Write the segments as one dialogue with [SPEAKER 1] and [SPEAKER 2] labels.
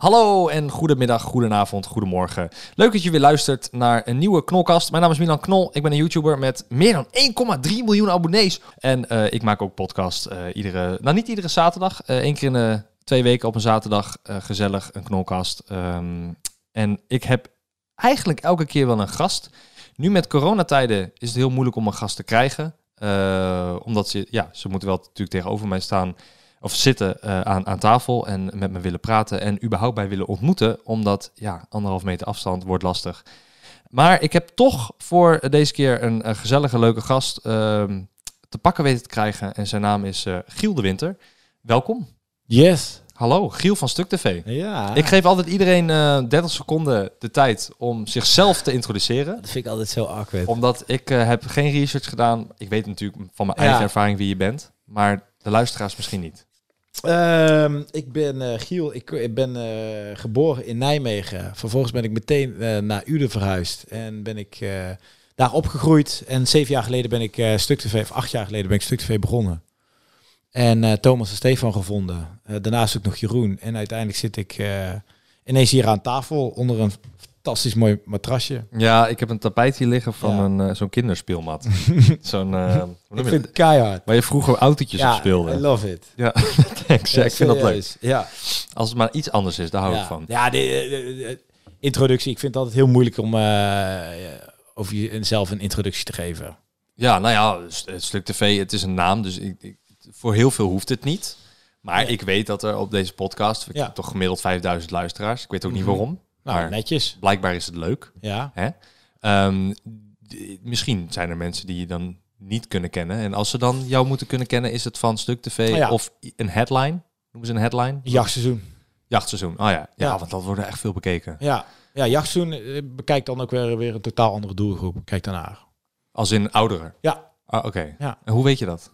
[SPEAKER 1] Hallo en goedemiddag, goedenavond, goedemorgen. Leuk dat je weer luistert naar een nieuwe Knolkast. Mijn naam is Milan Knol, ik ben een YouTuber met meer dan 1,3 miljoen abonnees. En eh, ik maak ook podcast eh, iedere, nou niet iedere zaterdag, eh één keer in de twee weken op een zaterdag eh, gezellig een Knolkast. Ehm, en ik heb eigenlijk elke keer wel een gast. Nu met coronatijden is het heel moeilijk om een gast te krijgen. Eh, omdat ze, ja, ze moeten wel natuurlijk tegenover mij staan of zitten eh, aan, aan tafel en met me willen praten en überhaupt bij willen ontmoeten, omdat ja, anderhalf meter afstand wordt lastig. Maar ik heb toch voor deze keer een, eh, gezellige, leuke gast ehm, te pakken weten te krijgen en zijn naam is eh, Giel de Winter. Welkom.
[SPEAKER 2] Yes.
[SPEAKER 1] Hallo, Giel van Stuk TV.
[SPEAKER 2] Ja.
[SPEAKER 1] Ik geef altijd iedereen eh 30 seconden de tijd om zichzelf te introduceren.
[SPEAKER 2] dat vind ik altijd zo awkward.
[SPEAKER 1] Omdat ik eh, heb geen research gedaan. Ik weet natuurlijk van mijn eigen
[SPEAKER 2] Ja.
[SPEAKER 1] ervaring wie je bent. Maar de luisteraars misschien niet.
[SPEAKER 2] Ehm, ik ben eh, Giel. Ik, ik ben eh, geboren in Nijmegen. Vervolgens ben ik meteen eh, naar Uden verhuisd. En ben ik eh, daar opgegroeid. En zeven jaar geleden ben ik eh Stuk TV, of acht jaar geleden ben ik Stuk TV begonnen. En eh, Thomas en Stefan gevonden. Eh, daarnaast ook nog Jeroen. En uiteindelijk zit ik eh, ineens hier aan tafel onder een fantastisch mooi matrasje.
[SPEAKER 1] Ja, ik heb een tapijt hier liggen van
[SPEAKER 2] Ja.
[SPEAKER 1] een, eh, zo'n kinderspeelmat. zo'n, eh, hoe noem
[SPEAKER 2] Ik
[SPEAKER 1] je
[SPEAKER 2] vind
[SPEAKER 1] dat?
[SPEAKER 2] het keihard.
[SPEAKER 1] Waar je vroeger autootjes op
[SPEAKER 2] I
[SPEAKER 1] speelde.
[SPEAKER 2] love it.
[SPEAKER 1] Ja, thanks. Ja, ik vind dat leuk.
[SPEAKER 2] Serieus. Ja.
[SPEAKER 1] Als het maar iets anders is, daar hou
[SPEAKER 2] ja.
[SPEAKER 1] ik van.
[SPEAKER 2] Ja, de, de- de- de introductie. Ik vind het altijd heel moeilijk om eh, eh, over jezelf een introductie te geven.
[SPEAKER 1] Ja, nou ja, S- eh, Stuk TV, het is een naam, dus ik, ik- voor heel veel hoeft het niet. Maar
[SPEAKER 2] Nee.
[SPEAKER 1] ik weet dat er op deze podcast, ik
[SPEAKER 2] Ja.
[SPEAKER 1] heb toch gemiddeld 5000 luisteraars. Ik weet ook niet
[SPEAKER 2] Mhm.
[SPEAKER 1] waarom,
[SPEAKER 2] Nou,
[SPEAKER 1] maar
[SPEAKER 2] netjes.
[SPEAKER 1] blijkbaar is het leuk.
[SPEAKER 2] Ja.
[SPEAKER 1] Ehm, d- misschien zijn er mensen die je dan niet kunnen kennen. En als ze dan jou moeten kunnen kennen, is het van Stuk TV
[SPEAKER 2] Oh ja.
[SPEAKER 1] of i- een headline. Noemen ze een headline?
[SPEAKER 2] Jachtseizoen.
[SPEAKER 1] Jachtseizoen. Oh ja. ja.
[SPEAKER 2] Ja.
[SPEAKER 1] want dat wordt echt veel bekeken.
[SPEAKER 2] Ja. Ja, jachtseizoen eh, bekijkt dan ook weer, weer een totaal andere doelgroep. Kijk daarnaar.
[SPEAKER 1] Als in ouderen.
[SPEAKER 2] Ja.
[SPEAKER 1] Ah, Oké.
[SPEAKER 2] Ja.
[SPEAKER 1] En hoe weet je dat?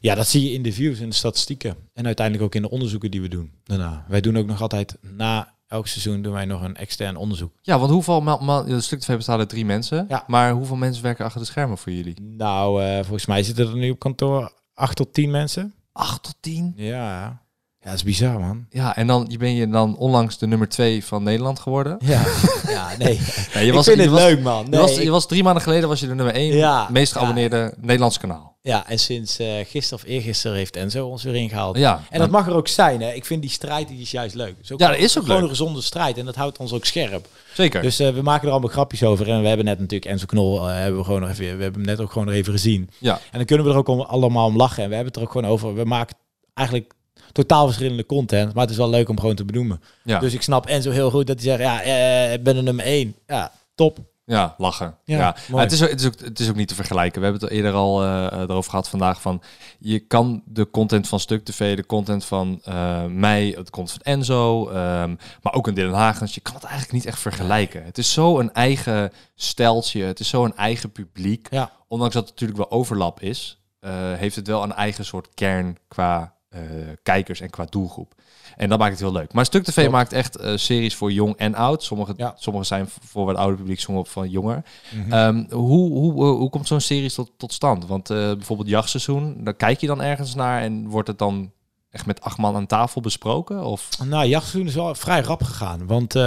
[SPEAKER 2] ja, dat zie je in de views en de statistieken. En uiteindelijk ook in de onderzoeken die we doen daarna. Wij doen ook nog altijd na elk seizoen doen wij nog een extern onderzoek.
[SPEAKER 1] Ja, want hoeveel... ma- ma- ja, Stuk TV bestaat uit drie mensen.
[SPEAKER 2] Ja.
[SPEAKER 1] Maar hoeveel mensen werken achter de schermen voor jullie?
[SPEAKER 2] Nou, eh, volgens mij zitten er nu op kantoor acht tot tien mensen.
[SPEAKER 1] Acht tot tien?
[SPEAKER 2] Ja. Ja, dat is bizar, man.
[SPEAKER 1] Ja, en dan je ben je dan onlangs de nummer twee van Nederland geworden.
[SPEAKER 2] Ja. ja, nee.
[SPEAKER 1] Nee, je
[SPEAKER 2] ik vind
[SPEAKER 1] je
[SPEAKER 2] het
[SPEAKER 1] was,
[SPEAKER 2] leuk, man.
[SPEAKER 1] Je,
[SPEAKER 2] Nee,
[SPEAKER 1] was,
[SPEAKER 2] ik-
[SPEAKER 1] je was drie maanden geleden was je de nummer één
[SPEAKER 2] Ja,
[SPEAKER 1] meest
[SPEAKER 2] ja.
[SPEAKER 1] geabonneerde Nederlands kanaal.
[SPEAKER 2] Ja, en sinds eh gisteren of eergisteren heeft Enzo ons weer ingehaald.
[SPEAKER 1] Ja.
[SPEAKER 2] En dat mag er ook zijn, hè. Ik vind die strijd die is juist leuk. Is ook
[SPEAKER 1] Ja, dat is ook
[SPEAKER 2] gewoon
[SPEAKER 1] leuk.
[SPEAKER 2] een gezonde strijd en dat houdt ons ook scherp.
[SPEAKER 1] Zeker.
[SPEAKER 2] Dus eh, we maken er allemaal grapjes over. En we hebben net natuurlijk Enzo Knol, eh, hebben we, gewoon nog even, we hebben hem net ook gewoon nog even gezien.
[SPEAKER 1] Ja.
[SPEAKER 2] En dan kunnen we er ook om, allemaal om lachen. En we hebben het er ook gewoon over. We maken eigenlijk totaal verschillende content, maar het is wel leuk om gewoon te benoemen.
[SPEAKER 1] ja.
[SPEAKER 2] Dus ik snap Enzo heel goed dat hij zegt, ja, eh, ik ben de nummer één. Ja, top.
[SPEAKER 1] Ja, lachen. Ja,
[SPEAKER 2] Ja,
[SPEAKER 1] Maar
[SPEAKER 2] mooi.
[SPEAKER 1] het, is ook, het, is ook, het is ook niet te vergelijken. We hebben het eerder al eh, erover gehad vandaag. Van, je kan de content van Stuk TV, de content van eh, mij, het content van Enzo, ehm, maar ook een Dylan Hagens. Je kan het eigenlijk niet echt vergelijken. Het is zo een eigen steltje. Het is zo een eigen publiek.
[SPEAKER 2] Ja.
[SPEAKER 1] Ondanks dat het natuurlijk wel overlap is, eh, heeft het wel een eigen soort kern qua eh, kijkers en qua doelgroep. En dat maakt het heel leuk. Maar Stuk TV
[SPEAKER 2] Klopt.
[SPEAKER 1] maakt echt eh, series voor jong en oud. Sommige,
[SPEAKER 2] Ja. Mhm.
[SPEAKER 1] sommige zijn voor wat ouder publiek, sommige van jonger. Ehm, hoe, hoe, eh, hoe komt zo'n series tot, tot stand? Want eh, bijvoorbeeld jachtseizoen, daar kijk je dan ergens naar en wordt het dan echt met acht man aan tafel besproken? Of
[SPEAKER 2] Nou, jachtseizoen is wel vrij rap gegaan. Want eh,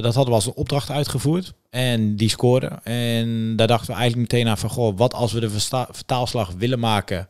[SPEAKER 2] dat hadden we als een opdracht uitgevoerd. En die scoorde. En daar dachten we eigenlijk meteen aan van... Goh, wat als we de versta- vertaalslag willen maken...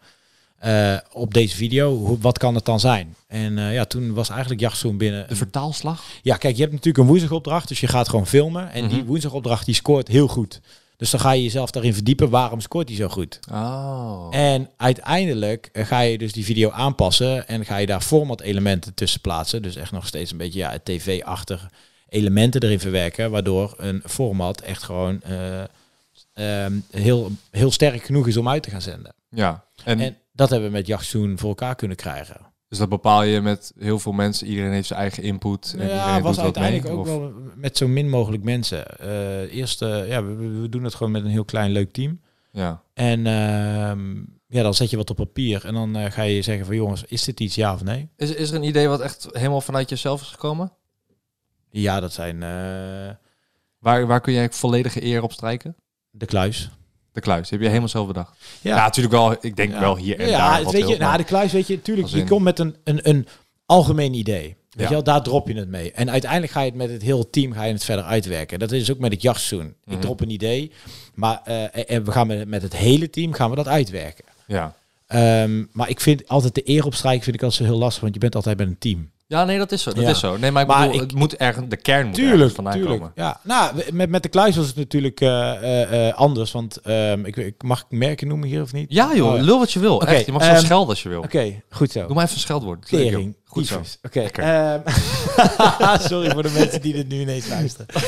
[SPEAKER 2] eh, op deze video, hoe- wat kan het dan zijn? En eh, ja, toen was eigenlijk Jachtzoen binnen...
[SPEAKER 1] De vertaalslag?
[SPEAKER 2] Ja, kijk, je hebt natuurlijk een woensdagopdracht, dus je gaat gewoon filmen. En die woensdagopdracht, die scoort heel goed. Dus dan ga je jezelf daarin verdiepen, waarom scoort die zo goed?
[SPEAKER 1] Oh.
[SPEAKER 2] En uiteindelijk eh, ga je dus die video aanpassen en ga je daar format elementen tussen plaatsen. Dus echt nog steeds een beetje ja, het tv-achtig elementen erin verwerken, waardoor een format echt gewoon eh, ehm, heel, heel sterk genoeg is om uit te gaan zenden.
[SPEAKER 1] Ja. En,
[SPEAKER 2] En dat hebben we met Jachtzoen voor elkaar kunnen krijgen.
[SPEAKER 1] dus dat bepaal je met heel veel mensen. Iedereen heeft zijn eigen input. En
[SPEAKER 2] Ja,
[SPEAKER 1] iedereen
[SPEAKER 2] was
[SPEAKER 1] doet wat
[SPEAKER 2] uiteindelijk
[SPEAKER 1] mee.
[SPEAKER 2] ook
[SPEAKER 1] Of-
[SPEAKER 2] wel met zo min mogelijk mensen. Eh, eerst, eh, ja, we, we- we doen het gewoon met een heel klein leuk team.
[SPEAKER 1] Ja.
[SPEAKER 2] En ehm, ja, dan zet je wat op papier en dan eh, ga je zeggen van jongens, is dit iets ja of nee?
[SPEAKER 1] Is, is er een idee wat echt helemaal vanuit jezelf is gekomen?
[SPEAKER 2] Ja, dat zijn eh,
[SPEAKER 1] Waar, waar kun jij volledige eer op strijken?
[SPEAKER 2] de kluis.
[SPEAKER 1] De kluis, die heb je helemaal zelf bedacht. Ja,
[SPEAKER 2] Ja.
[SPEAKER 1] natuurlijk wel. Ik denk
[SPEAKER 2] Ja.
[SPEAKER 1] wel hier en
[SPEAKER 2] ja,
[SPEAKER 1] daar.
[SPEAKER 2] het
[SPEAKER 1] wat
[SPEAKER 2] weet je,
[SPEAKER 1] wild, maar-
[SPEAKER 2] nou, de kluis, weet je, tuurlijk,
[SPEAKER 1] Als
[SPEAKER 2] die
[SPEAKER 1] in-
[SPEAKER 2] komt met een, een, een algemeen idee. Weet
[SPEAKER 1] Ja.
[SPEAKER 2] je wel, daar drop je het mee. En uiteindelijk ga je het met het hele team ga je het verder uitwerken. Dat is ook met het jachtseizoen.
[SPEAKER 1] Mhm.
[SPEAKER 2] Ik drop een idee, maar eh, en we gaan met, met het hele team gaan we dat uitwerken.
[SPEAKER 1] ja.
[SPEAKER 2] Ehm, maar ik vind altijd de eer op strijk vind ik altijd zo heel lastig, want je bent altijd met een team.
[SPEAKER 1] ja, nee, dat is zo. Dat
[SPEAKER 2] Ja.
[SPEAKER 1] is zo. Nee, maar ik
[SPEAKER 2] Maar
[SPEAKER 1] bedoel,
[SPEAKER 2] ik-
[SPEAKER 1] het moet ergens, de kern moet ergens vandaan komen.
[SPEAKER 2] Ja, nou, we- met, met de kluis was het natuurlijk eh, eh, eh, anders, want ehm, ik, ik mag ik merken noemen hier of niet?
[SPEAKER 1] Ja joh,
[SPEAKER 2] Oh, ja.
[SPEAKER 1] lul wat je wil.
[SPEAKER 2] Oké,
[SPEAKER 1] Echt, je mag zo
[SPEAKER 2] ehm,
[SPEAKER 1] schelden als je wil.
[SPEAKER 2] Oké, goed zo.
[SPEAKER 1] Doe maar even een scheldwoord. Dat is leuk, joh.
[SPEAKER 2] Tering.
[SPEAKER 1] Goed zo.
[SPEAKER 2] tyfus. Oké.
[SPEAKER 1] Lekker.
[SPEAKER 2] ehm, sorry voor de mensen die dit nu ineens luisteren.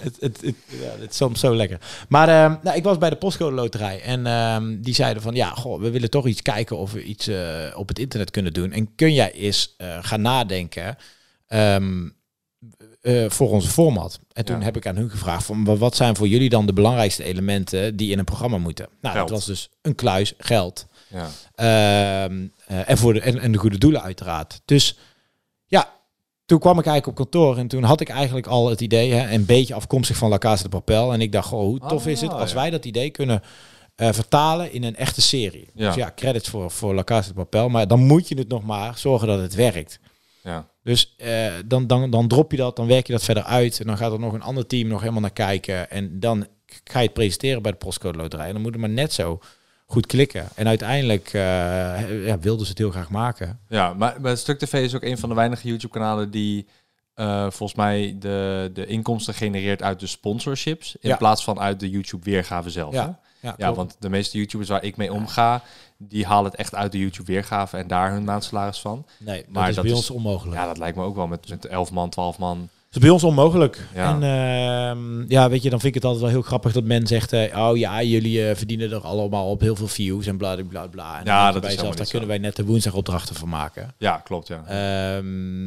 [SPEAKER 2] het, het, het, ja, het is soms zo lekker. Maar ehm, nou, ik was bij de postcode loterij. En ehm, die zeiden van, ja, goh, we willen toch iets kijken of we iets eh, op het internet kunnen doen. En kun jij eens eh, gaan nadenken ehm, eh, voor onze format? En toen
[SPEAKER 1] Ja.
[SPEAKER 2] heb ik aan hun gevraagd, van, "Wa- wat zijn voor jullie dan de belangrijkste elementen die in een programma moeten? Nou,
[SPEAKER 1] Geld.
[SPEAKER 2] dat was dus een kluis, geld.
[SPEAKER 1] Ja.
[SPEAKER 2] Ehm, eh, en, voor de, en, en de goede doelen uiteraard. Dus ja, toen kwam ik eigenlijk op kantoor en toen had ik eigenlijk al het idee, hè, een beetje afkomstig van La Casa de Papel. En ik dacht, goh, hoe tof
[SPEAKER 1] Ah,
[SPEAKER 2] is het als
[SPEAKER 1] ja.
[SPEAKER 2] wij dat idee kunnen eh, vertalen in een echte serie.
[SPEAKER 1] Ja.
[SPEAKER 2] Dus ja, credits voor, voor La Casa de Papel, maar dan moet je het nog maar zorgen dat het werkt.
[SPEAKER 1] Ja.
[SPEAKER 2] Dus eh, dan, dan, dan drop je dat, dan werk je dat verder uit. En dan gaat er nog een ander team nog helemaal naar kijken. En dan ga je het presenteren bij de postcode loterij. En dan moet het maar net zo goed klikken. En uiteindelijk eh, ja, wilden ze het heel graag maken.
[SPEAKER 1] Ja, maar, maar Stuk TV is ook een van de weinige YouTube-kanalen die eh, volgens mij de, de inkomsten genereert uit de sponsorships. In
[SPEAKER 2] Ja.
[SPEAKER 1] plaats van uit de YouTube-weergave zelf. hè?
[SPEAKER 2] Ja, ja,
[SPEAKER 1] ja
[SPEAKER 2] klopt.
[SPEAKER 1] want de meeste YouTubers waar ik mee omga, die halen het echt uit de YouTube-weergave en daar hun maandsalaris van.
[SPEAKER 2] nee, dat
[SPEAKER 1] maar
[SPEAKER 2] is
[SPEAKER 1] dat
[SPEAKER 2] bij
[SPEAKER 1] is-
[SPEAKER 2] ons onmogelijk.
[SPEAKER 1] Ja, dat lijkt me ook wel met, met 11 man, 12 man.
[SPEAKER 2] Dat is bij ons onmogelijk.
[SPEAKER 1] Ja.
[SPEAKER 2] En ehm, ja, weet je, dan vind ik het altijd wel heel grappig dat men zegt... eh, oh ja, jullie eh, verdienen er allemaal op heel veel views en bla bla bla. bla. En dan
[SPEAKER 1] Ja,
[SPEAKER 2] denk je
[SPEAKER 1] dat
[SPEAKER 2] bij
[SPEAKER 1] is helemaal
[SPEAKER 2] jezelf, Daar
[SPEAKER 1] niet
[SPEAKER 2] kunnen wij net de woensdagopdrachten van maken.
[SPEAKER 1] Ja, klopt, ja.
[SPEAKER 2] Ehm,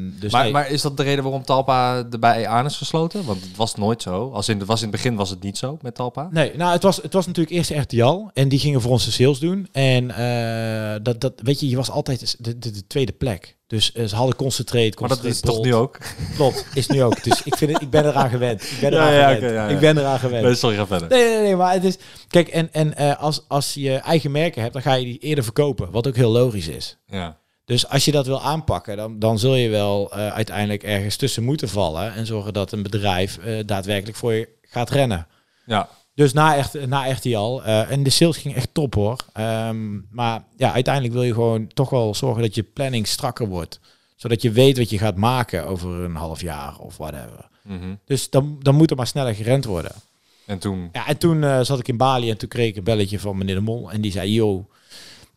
[SPEAKER 2] Eh, dus
[SPEAKER 1] maar,
[SPEAKER 2] nee.
[SPEAKER 1] maar is dat de reden waarom Talpa erbij aan is gesloten? Want het was nooit zo. Als in, het was in het begin was het niet zo met Talpa.
[SPEAKER 2] Nee, nou, het was, het was natuurlijk eerst RTL. En die gingen voor ons de sales doen. En eh, dat, dat, weet je, je was altijd de, de, de tweede plek. Dus eh, ze hadden concentrate,
[SPEAKER 1] Maar dat is
[SPEAKER 2] concentrate
[SPEAKER 1] toch nu
[SPEAKER 2] bold.
[SPEAKER 1] ook?
[SPEAKER 2] Klopt, is nu ook. Dus ik, vind het, ik ben eraan gewend. Ik ben
[SPEAKER 1] Ja,
[SPEAKER 2] eraan
[SPEAKER 1] ja,
[SPEAKER 2] gewend.
[SPEAKER 1] oké, ja, ja.
[SPEAKER 2] Ik ben eraan gewend.
[SPEAKER 1] Nee, sorry, ga verder.
[SPEAKER 2] Nee, nee, nee, maar het is... Kijk, en, en eh, als, als je eigen merken hebt, dan ga je die eerder verkopen. Wat ook heel logisch is.
[SPEAKER 1] Ja.
[SPEAKER 2] Dus als je dat wil aanpakken, dan, dan zul je wel eh, uiteindelijk ergens tussen moeten vallen. En zorgen dat een bedrijf eh, daadwerkelijk voor je gaat rennen.
[SPEAKER 1] Ja.
[SPEAKER 2] Dus na, echt, na RTL. eh en de sales ging echt top hoor. Ehm, maar ja, uiteindelijk wil je gewoon toch wel zorgen dat je planning strakker wordt. Zodat je weet wat je gaat maken over een half jaar of whatever.
[SPEAKER 1] Mhm.
[SPEAKER 2] Dus dan, dan moet er maar sneller gerend worden.
[SPEAKER 1] En toen
[SPEAKER 2] Ja, en toen eh, zat ik in Bali en toen kreeg ik een belletje van meneer de Mol. En die zei, yo,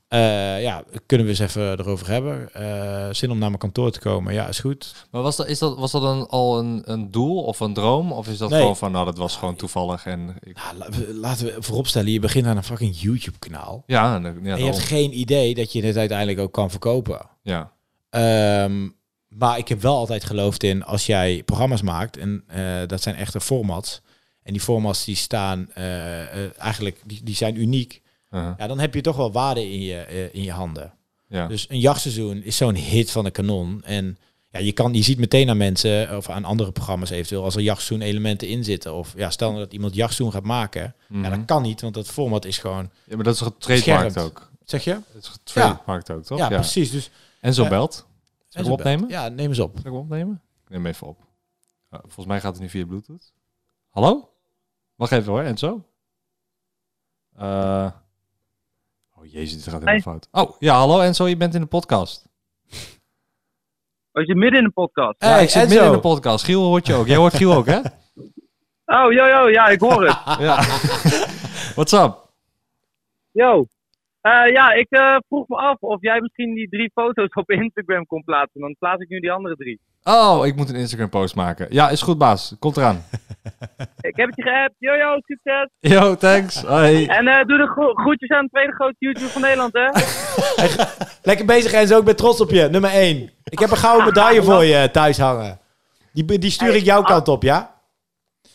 [SPEAKER 2] eh, ja, kunnen we eens even erover hebben? Eh, zin om naar mijn kantoor te komen? Ja, is goed.
[SPEAKER 1] Maar was dat, is dat, was dat een, al een, een doel of een droom? Of is dat
[SPEAKER 2] Nee.
[SPEAKER 1] gewoon van, nou, dat was gewoon toevallig en... Ik,
[SPEAKER 2] Nou, la- we- laten we vooropstellen, je begint aan een fucking YouTube kanaal.
[SPEAKER 1] ja, en, ja,
[SPEAKER 2] En je hebt
[SPEAKER 1] daarom.
[SPEAKER 2] geen idee dat je dit uiteindelijk ook kan verkopen.
[SPEAKER 1] ja,
[SPEAKER 2] Ehm, maar ik heb wel altijd geloofd in als jij programma's maakt, en eh, dat zijn echte formats. En die formats die staan eh, eh, eigenlijk, die, die zijn uniek.
[SPEAKER 1] uh-huh,
[SPEAKER 2] Ja, dan heb je toch wel waarde in je, eh, in je handen.
[SPEAKER 1] ja.
[SPEAKER 2] Dus een jachtseizoen is zo'n hit van de kanon. En ja, je, kan, je ziet meteen aan mensen of aan andere programma's eventueel als er jachtseizoen elementen in zitten. Of ja, stel nou dat iemand jachtseizoen gaat maken.
[SPEAKER 1] Mhm.
[SPEAKER 2] Ja, dat kan niet, want dat format is gewoon.
[SPEAKER 1] Ja, maar dat is getrademarkt
[SPEAKER 2] Schermd.
[SPEAKER 1] ook.
[SPEAKER 2] Zeg je?
[SPEAKER 1] Het is getrademarkt ook, toch?
[SPEAKER 2] Ja, precies. Dus,
[SPEAKER 1] En zo
[SPEAKER 2] Ja.
[SPEAKER 1] belt. Zal ik hem opnemen?
[SPEAKER 2] Ja, neem eens op.
[SPEAKER 1] Zal ik hem opnemen? Ik neem hem even op. Ja, volgens mij gaat het nu via Bluetooth. Hallo? Wacht even hoor, Enzo. Eh oh, Oh jezus, dit gaat helemaal fout. Oh, ja, hallo Enzo, je bent in de podcast.
[SPEAKER 3] Was je midden in de podcast?
[SPEAKER 1] Ja,
[SPEAKER 2] Hey,
[SPEAKER 1] ik zit
[SPEAKER 2] Enzo.
[SPEAKER 1] midden in de podcast. Giel hoort je ook. Jij hoort Giel ook, hè?
[SPEAKER 3] Oh, yo, yo, ja, ik hoor het.
[SPEAKER 1] Ja. What's up?
[SPEAKER 3] Yo. Eh, ja, ik eh, vroeg me af of jij misschien die drie foto's op Instagram kon plaatsen. Dan plaats ik nu die andere drie.
[SPEAKER 1] Oh, ik moet een Instagram post maken. Ja, is goed baas. Komt eraan.
[SPEAKER 3] Ik heb het je geappt. Yo, yo, succes.
[SPEAKER 1] Yo, thanks. Hoi.
[SPEAKER 3] En eh, doe de gro- groetjes aan de tweede grootste YouTuber van Nederland, hè?
[SPEAKER 2] Lekker bezig en zo, ik ben trots op je. Nummer 1. Ik heb een Ah, gouden ah. medaille voor je eh, thuis hangen. Die, die stuur ik jouw kant op, ja?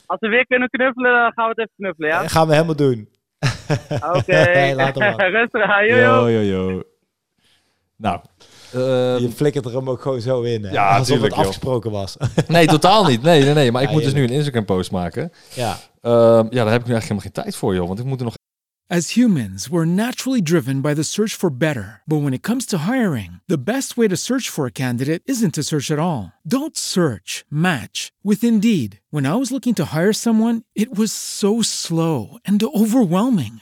[SPEAKER 3] Als we weer kunnen knuffelen, dan gaan we het even knuffelen, ja?
[SPEAKER 2] Dat gaan we helemaal doen.
[SPEAKER 3] Oké.
[SPEAKER 2] Later, man.
[SPEAKER 3] Rustig aan, yo,
[SPEAKER 1] Yo,
[SPEAKER 3] yo.
[SPEAKER 1] yo, yo. Nou.
[SPEAKER 2] Eh, Je flikkert er hem ook gewoon zo in. Hè?
[SPEAKER 1] Ja,
[SPEAKER 2] Alsof
[SPEAKER 1] tuurlijk, joh.
[SPEAKER 2] het afgesproken was.
[SPEAKER 1] nee, totaal niet. Nee, nee, nee. Maar ik
[SPEAKER 2] Ja,
[SPEAKER 1] moet dus nu
[SPEAKER 2] heerlijk.
[SPEAKER 1] een Instagram post maken.
[SPEAKER 2] ja.
[SPEAKER 1] Ehm, ja, daar heb ik nu eigenlijk helemaal geen tijd voor, joh. Want ik moet er nog
[SPEAKER 4] As humans, we're naturally driven by the search for better. But when it comes to hiring, the best way to search for a candidate isn't to search at all. Don't search, match with Indeed. When I was looking to hire someone, it was so slow and overwhelming.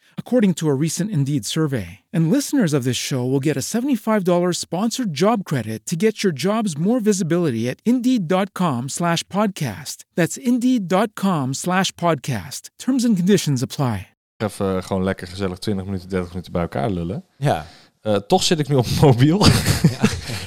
[SPEAKER 4] according to a recent Indeed survey. And listeners of this show will get a $75 sponsored job credit to get your jobs more visibility at Indeed.com slash podcast. That's Indeed.com slash podcast. Terms and conditions apply.
[SPEAKER 1] even eh, gewoon lekker gezellig 20 minuten, 30 minuten bij elkaar lullen.
[SPEAKER 2] ja.
[SPEAKER 1] Eh, toch zit ik nu op mobiel.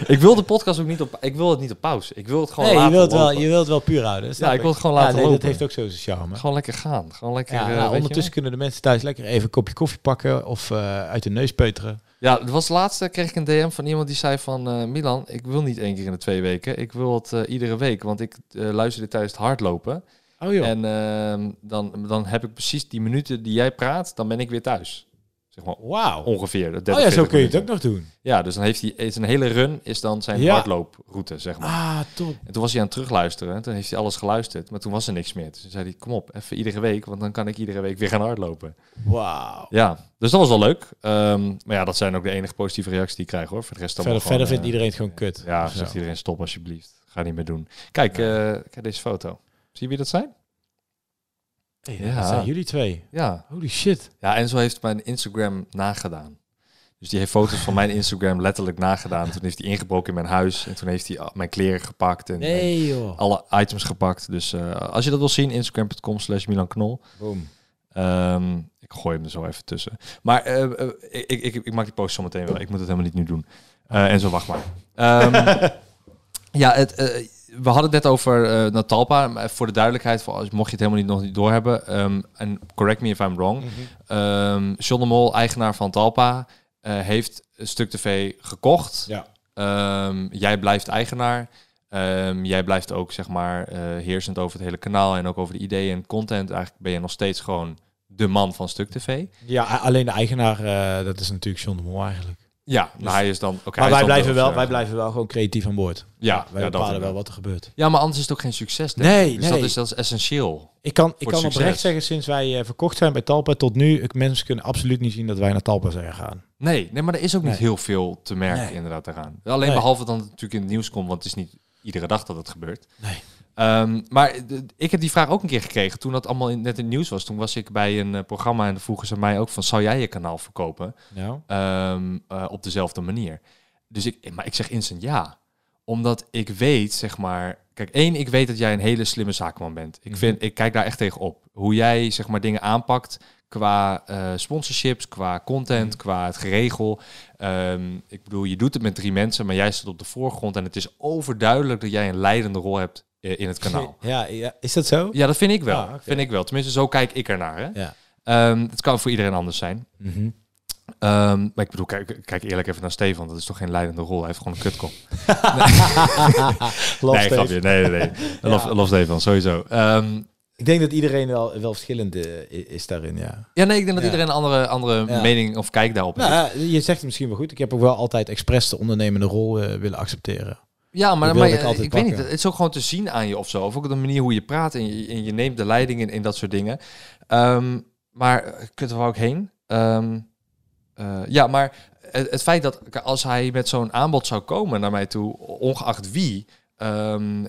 [SPEAKER 1] ik wil de podcast ook niet op... Ik wil het niet op pauze. Ik wil het gewoon
[SPEAKER 2] Nee, je
[SPEAKER 1] laten
[SPEAKER 2] wilt, wel,
[SPEAKER 1] lopen.
[SPEAKER 2] je wilt wel puur houden. dus snap
[SPEAKER 1] Ja, ik wil het gewoon
[SPEAKER 2] Ja,
[SPEAKER 1] laten
[SPEAKER 2] nee,
[SPEAKER 1] lopen.
[SPEAKER 2] Dat heeft ook zo zijn charme.
[SPEAKER 1] Gewoon lekker gaan. Gewoon lekker...
[SPEAKER 2] Ja,
[SPEAKER 1] eh,
[SPEAKER 2] nou,
[SPEAKER 1] weet je
[SPEAKER 2] ondertussen kunnen de mensen thuis lekker even een kopje koffie pakken of eh, uit de neus peuteren.
[SPEAKER 1] Ja, het was laatste kreeg ik een DM van iemand die zei van eh, Milan, ik wil niet één keer in de twee weken. Ik wil het eh, iedere week, want ik eh, luisterde tijdens het hardlopen.
[SPEAKER 2] Oh joh.
[SPEAKER 1] En ehm, dan, dan heb ik precies die minuten die jij praat, dan ben ik weer thuis. Zeg maar
[SPEAKER 2] Wauw. Oh
[SPEAKER 1] ongeveer. de 30,
[SPEAKER 2] ja, zo
[SPEAKER 1] 40
[SPEAKER 2] kun je het ook
[SPEAKER 1] minuten.
[SPEAKER 2] nog doen.
[SPEAKER 1] Ja, dus dan heeft hij is een hele run is dan zijn
[SPEAKER 2] Ja.
[SPEAKER 1] hardlooproute, zeg maar.
[SPEAKER 2] Ah, top.
[SPEAKER 1] En toen was hij aan het terugluisteren. en Toen heeft hij alles geluisterd. Maar toen was er niks meer. Dus toen zei hij, kom op, even iedere week. Want dan kan ik iedere week weer gaan hardlopen.
[SPEAKER 2] Wauw.
[SPEAKER 1] Ja, dus dat was wel leuk. Ehm, maar ja, dat zijn ook de enige positieve reacties die ik krijg hoor. Voor de rest allemaal
[SPEAKER 2] Verder, verder
[SPEAKER 1] gewoon,
[SPEAKER 2] vindt iedereen het gewoon kut.
[SPEAKER 1] eh, Ja,
[SPEAKER 2] Of zo.
[SPEAKER 1] zegt iedereen stop alsjeblieft. Ga niet meer doen. Kijk, eh, kijk deze foto. Zie je wie dat zijn?
[SPEAKER 2] Hey,
[SPEAKER 1] Ja.
[SPEAKER 2] Dat zijn jullie twee.
[SPEAKER 1] Ja.
[SPEAKER 2] Holy shit.
[SPEAKER 1] Ja, en zo heeft mijn Instagram nagedaan. Dus die heeft foto's van mijn Instagram letterlijk nagedaan. Toen heeft hij ingebroken in mijn huis. En toen heeft hij al mijn kleren gepakt. En, en
[SPEAKER 2] Nee joh.
[SPEAKER 1] alle items gepakt. Dus eh, als je dat wil zien, instagram.com slash Milan Knol.
[SPEAKER 2] Ah, Boom.
[SPEAKER 1] Ehm, ik gooi hem er zo even tussen. Maar eh, eh, ik, ik, ik maak die post zometeen wel. Ik moet het helemaal niet nu doen. Eh, en zo wacht maar. Ehm, ja, het, eh, we hadden het net over eh, Natalpa. Maar Voor de duidelijkheid, voor als, mocht je het helemaal niet, nog niet doorhebben. ehm, En correct me if I'm wrong. Ehm John de Mol, eigenaar van Talpa, eh, heeft een stuk tv gekocht.
[SPEAKER 2] Ja.
[SPEAKER 1] Ehm, jij blijft eigenaar. Ehm, jij blijft ook zeg maar eh, heersend over het hele kanaal en ook over de ideeën en content. Eigenlijk ben je nog steeds gewoon de man van Stuk TV.
[SPEAKER 2] Ja, a- alleen de eigenaar, eh, dat is natuurlijk John de Mol eigenlijk.
[SPEAKER 1] Ja, nou, hij is dan. oké.
[SPEAKER 2] dus- maar
[SPEAKER 1] hij is
[SPEAKER 2] wij
[SPEAKER 1] dan
[SPEAKER 2] blijven,
[SPEAKER 1] de-
[SPEAKER 2] wel, wij blijven wel gewoon creatief aan boord.
[SPEAKER 1] Ja, ja,
[SPEAKER 2] wij
[SPEAKER 1] dat
[SPEAKER 2] bepalen wel
[SPEAKER 1] inderdaad.
[SPEAKER 2] wat er gebeurt.
[SPEAKER 1] Ja, maar anders is het ook geen succes. denk
[SPEAKER 2] Nee,
[SPEAKER 1] ik. dus dat
[SPEAKER 2] nee.
[SPEAKER 1] is dat is essentieel.
[SPEAKER 2] Ik kan, ik
[SPEAKER 1] Voor
[SPEAKER 2] kan
[SPEAKER 1] succes.
[SPEAKER 2] oprecht zeggen, sinds wij eh, verkocht zijn bij Talpa tot nu, ik- mensen kunnen absoluut niet zien dat wij naar Talpa zijn gegaan.
[SPEAKER 1] Nee, nee, maar er is ook niet
[SPEAKER 2] Nee.
[SPEAKER 1] heel veel te merken
[SPEAKER 2] Nee.
[SPEAKER 1] inderdaad daaraan. Alleen
[SPEAKER 2] Nee.
[SPEAKER 1] behalve dan natuurlijk in het nieuws komt, want het is niet iedere dag dat het gebeurt.
[SPEAKER 2] Nee.
[SPEAKER 1] Ehm, maar de- ik heb die vraag ook een keer gekregen toen dat allemaal in, net in het nieuws was. Toen was ik bij een eh, programma en dan vroegen ze mij ook van, zou jij je kanaal verkopen
[SPEAKER 2] Nou,
[SPEAKER 1] Ehm, eh, op dezelfde manier? Dus ik, maar ik zeg instant ja. Omdat ik weet, zeg maar... Kijk, één, ik weet dat jij een hele slimme zaakman bent.
[SPEAKER 2] Mhm.
[SPEAKER 1] Ik, vind, ik kijk daar echt tegen op. Hoe jij, zeg maar, dingen aanpakt qua eh, sponsorships, qua content,
[SPEAKER 2] Mhm.
[SPEAKER 1] qua het geregel. Ehm, ik bedoel, je doet het met drie mensen, maar jij staat op de voorgrond. En het is overduidelijk dat jij een leidende rol hebt eh, in het kanaal.
[SPEAKER 2] Ja, ja, is dat zo?
[SPEAKER 1] Ja, dat vind ik wel.
[SPEAKER 2] Ah, oké.
[SPEAKER 1] Vind ik wel. Tenminste, zo kijk ik ernaar. Hè?
[SPEAKER 2] Ja.
[SPEAKER 1] Ehm, het kan voor iedereen anders zijn.
[SPEAKER 2] Mhm.
[SPEAKER 1] Ehm, maar ik bedoel, kijk, kijk eerlijk even naar Stefan. Dat is toch geen leidende rol? Hij heeft gewoon een kutkop.
[SPEAKER 2] Love
[SPEAKER 1] nee,
[SPEAKER 2] Steve.
[SPEAKER 1] grapje. Nee, nee, nee. Lof, Stefan, sowieso. Ehm,
[SPEAKER 2] Ik denk dat iedereen wel, wel verschillend eh, is daarin, ja.
[SPEAKER 1] Ja, nee, ik denk dat
[SPEAKER 2] Ja.
[SPEAKER 1] iedereen een andere, andere
[SPEAKER 2] Ja.
[SPEAKER 1] mening of kijk daarop heeft.
[SPEAKER 2] Nou, ja, je zegt het misschien wel goed. Ik heb ook wel altijd expres de ondernemende rol eh, willen accepteren.
[SPEAKER 1] Ja, maar,
[SPEAKER 2] wilde
[SPEAKER 1] maar
[SPEAKER 2] ik
[SPEAKER 1] ik,
[SPEAKER 2] altijd
[SPEAKER 1] ik weet niet.
[SPEAKER 2] pakken.
[SPEAKER 1] Het is ook gewoon te zien aan je of zo. Of ook de manier hoe je praat en je, en je neemt de leiding in, in dat soort dingen. Ehm, maar eh, kut, er wou ik heen. Ehm, eh, ja, maar het, het feit dat k- als hij met zo'n aanbod zou komen naar mij toe, ongeacht wie, ehm,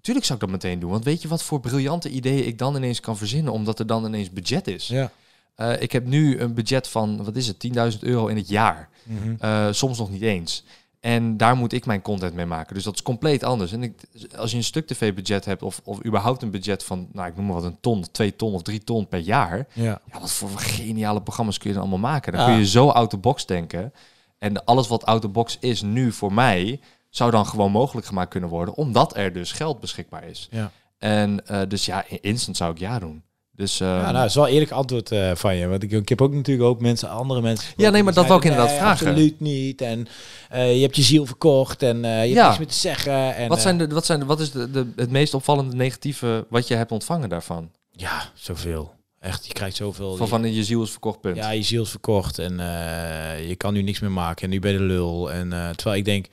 [SPEAKER 1] tuurlijk zou ik dat meteen doen. Want weet je wat voor briljante ideeën ik dan ineens kan verzinnen, omdat er dan ineens budget is.
[SPEAKER 2] Ja.
[SPEAKER 1] Eh, ik heb nu een budget van, wat is het, 10.000 euro in het jaar.
[SPEAKER 2] Mhm.
[SPEAKER 1] Eh, soms nog niet eens. En daar moet ik mijn content mee maken. Dus dat is compleet anders. En ik, als je een stuk tv-budget hebt, of, of überhaupt een budget van, nou ik noem maar wat, een ton, twee ton of drie ton per jaar.
[SPEAKER 2] ja.
[SPEAKER 1] Ja, wat voor geniale programma's kun je dan allemaal maken? Dan
[SPEAKER 2] Ja.
[SPEAKER 1] kun je zo out the box denken. En alles wat out the box is nu voor mij, zou dan gewoon mogelijk gemaakt kunnen worden, omdat er dus geld beschikbaar is.
[SPEAKER 2] Ja.
[SPEAKER 1] En eh, dus ja, instant zou ik ja doen. Dus, eh,
[SPEAKER 2] Ja, nou, dat is wel een eerlijk antwoord eh, van je. Want ik, ik heb ook natuurlijk ook mensen, andere mensen. gesproken
[SPEAKER 1] Ja, nee, maar
[SPEAKER 2] die
[SPEAKER 1] dat wou ik
[SPEAKER 2] zeiden,
[SPEAKER 1] inderdaad
[SPEAKER 2] "Nee,
[SPEAKER 1] vragen."
[SPEAKER 2] Absoluut niet. En eh, je hebt je ziel verkocht en eh, je
[SPEAKER 1] Ja.
[SPEAKER 2] hebt niks meer te zeggen. En,
[SPEAKER 1] wat, zijn
[SPEAKER 2] eh,
[SPEAKER 1] de, wat, zijn de, wat is de, de, het meest opvallende negatieve wat je hebt ontvangen daarvan?
[SPEAKER 2] ja, zoveel. Echt, je krijgt zoveel.
[SPEAKER 1] Van, van je ziel is verkocht, punt.
[SPEAKER 2] ja, je ziel is verkocht en eh, je kan nu niks meer maken. En nu ben je de lul. En, eh, terwijl ik denk,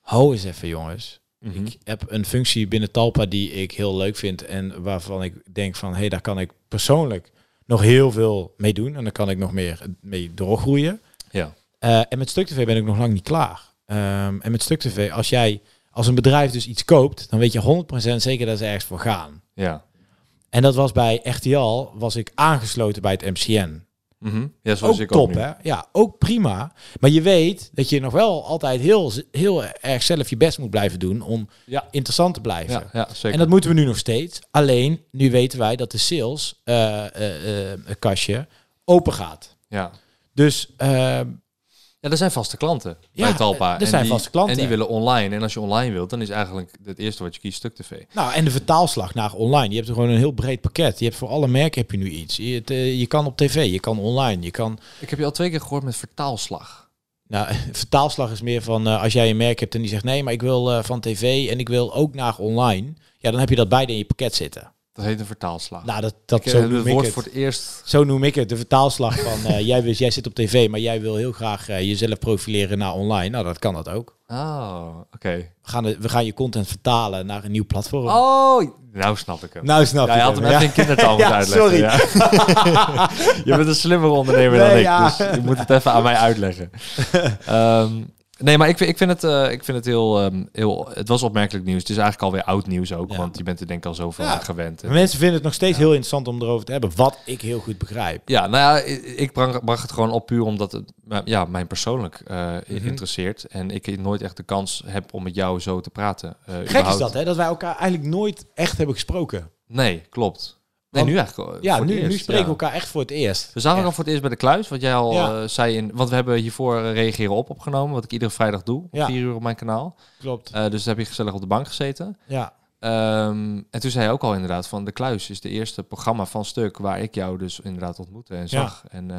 [SPEAKER 2] hou eens even jongens.
[SPEAKER 1] Mhm.
[SPEAKER 2] Ik heb een functie binnen Talpa die ik heel leuk vind. En waarvan ik denk van, hé, hey, daar kan ik persoonlijk nog heel veel mee doen. En daar kan ik nog meer mee doorgroeien.
[SPEAKER 1] Ja.
[SPEAKER 2] Eh, en met Stuk TV ben ik nog lang niet klaar. Ehm, en met Stuk TV, als jij als een bedrijf dus iets koopt, dan weet je 100% zeker dat ze ergens voor gaan.
[SPEAKER 1] Ja.
[SPEAKER 2] En dat was bij RTL, was ik aangesloten bij het MCN.
[SPEAKER 1] Mhm. ja zo
[SPEAKER 2] Ook
[SPEAKER 1] is ik
[SPEAKER 2] top,
[SPEAKER 1] ook nu.
[SPEAKER 2] hè? Ja, ook prima. Maar je weet dat je nog wel altijd heel, heel erg zelf je best moet blijven doen om
[SPEAKER 1] Ja.
[SPEAKER 2] interessant te blijven.
[SPEAKER 1] Ja, ja, zeker.
[SPEAKER 2] En dat moeten we nu nog steeds. Alleen, nu weten wij dat de sales eh, eh, eh, kastje open gaat.
[SPEAKER 1] ja.
[SPEAKER 2] Dus ehm,
[SPEAKER 1] ja, er zijn vaste klanten
[SPEAKER 2] Ja,
[SPEAKER 1] bij Talpa.
[SPEAKER 2] er
[SPEAKER 1] En
[SPEAKER 2] zijn
[SPEAKER 1] die-
[SPEAKER 2] vaste klanten.
[SPEAKER 1] En die willen online. En als je online wilt, dan is eigenlijk het eerste wat je kiest stuk tv.
[SPEAKER 2] Nou, en de vertaalslag naar online. Je hebt er gewoon een heel breed pakket. Je hebt voor alle merken heb je nu iets. Je, het, eh, je kan op tv, je kan online, je kan...
[SPEAKER 1] Ik heb je al twee keer gehoord met vertaalslag.
[SPEAKER 2] Nou, vertaalslag is meer van eh, als jij een merk hebt en die zegt... nee, maar ik wil eh, van tv en ik wil ook naar online. Ja, dan heb je dat beide in je pakket zitten.
[SPEAKER 1] Dat heet een vertaalslag.
[SPEAKER 2] Nou, dat, dat
[SPEAKER 1] ik
[SPEAKER 2] zo
[SPEAKER 1] heb het
[SPEAKER 2] noem ik
[SPEAKER 1] woord
[SPEAKER 2] het.
[SPEAKER 1] voor het eerst.
[SPEAKER 2] Zo noem ik het, de vertaalslag van... eh, jij, wist, jij zit op tv, maar jij wil heel graag eh, jezelf profileren naar online. Nou, dat kan dat ook.
[SPEAKER 1] Oh, oké.
[SPEAKER 2] We gaan, de- we gaan je content vertalen naar een nieuw platform.
[SPEAKER 1] Oh, nou snap ik hem.
[SPEAKER 2] Nou, snap
[SPEAKER 1] Ja, je had hem even in kindertaal moeten
[SPEAKER 2] Ja,
[SPEAKER 1] uitleggen.
[SPEAKER 2] sorry.
[SPEAKER 1] ja. je bent een slimmere ondernemer dan
[SPEAKER 2] Nee,
[SPEAKER 1] ik,
[SPEAKER 2] ja.
[SPEAKER 1] dus je moet het even aan mij uitleggen. Ehm, nee, maar ik, vind- ik vind het, eh, ik vind het heel, ehm, heel... Het was opmerkelijk nieuws. Het is eigenlijk alweer oud nieuws ook,
[SPEAKER 2] Ja.
[SPEAKER 1] want je bent er denk ik al zoveel
[SPEAKER 2] Ja.
[SPEAKER 1] aan gewend.
[SPEAKER 2] Maar Mensen vinden het nog steeds heel interessant om erover te hebben. Wat ik heel goed begrijp.
[SPEAKER 1] Ja, nou ja, ik- ik brang- bracht het gewoon op puur omdat het maar ja, mij persoonlijk eh,
[SPEAKER 2] Mhm.
[SPEAKER 1] interesseert. En ik nooit echt de kans heb om met jou zo te praten. eh,
[SPEAKER 2] Gek is
[SPEAKER 1] überhaupt.
[SPEAKER 2] dat, hè? Dat wij elkaar eigenlijk nooit echt hebben gesproken.
[SPEAKER 1] Nee, klopt. Nee,
[SPEAKER 2] Want-
[SPEAKER 1] nu eigenlijk. eh,
[SPEAKER 2] Ja,
[SPEAKER 1] voor het
[SPEAKER 2] nu, nu
[SPEAKER 1] eerst,
[SPEAKER 2] spreken we
[SPEAKER 1] ja. Dus-
[SPEAKER 2] elkaar echt voor het eerst.
[SPEAKER 1] We zagen
[SPEAKER 2] Echt.
[SPEAKER 1] elkaar voor het eerst bij de kluis, wat jij al
[SPEAKER 2] Ja.
[SPEAKER 1] eh, zei. In, want we hebben hiervoor eh, reageren op opgenomen, wat ik iedere vrijdag doe. om
[SPEAKER 2] Ja.
[SPEAKER 1] Vier uur op mijn kanaal.
[SPEAKER 2] Klopt.
[SPEAKER 1] Eh, dus daar heb je gezellig op de bank gezeten.
[SPEAKER 2] Ja.
[SPEAKER 1] Ehm, en toen zei hij ook al inderdaad van de kluis is de eerste programma van stuk waar ik jou dus inderdaad ontmoette en zag. En eh,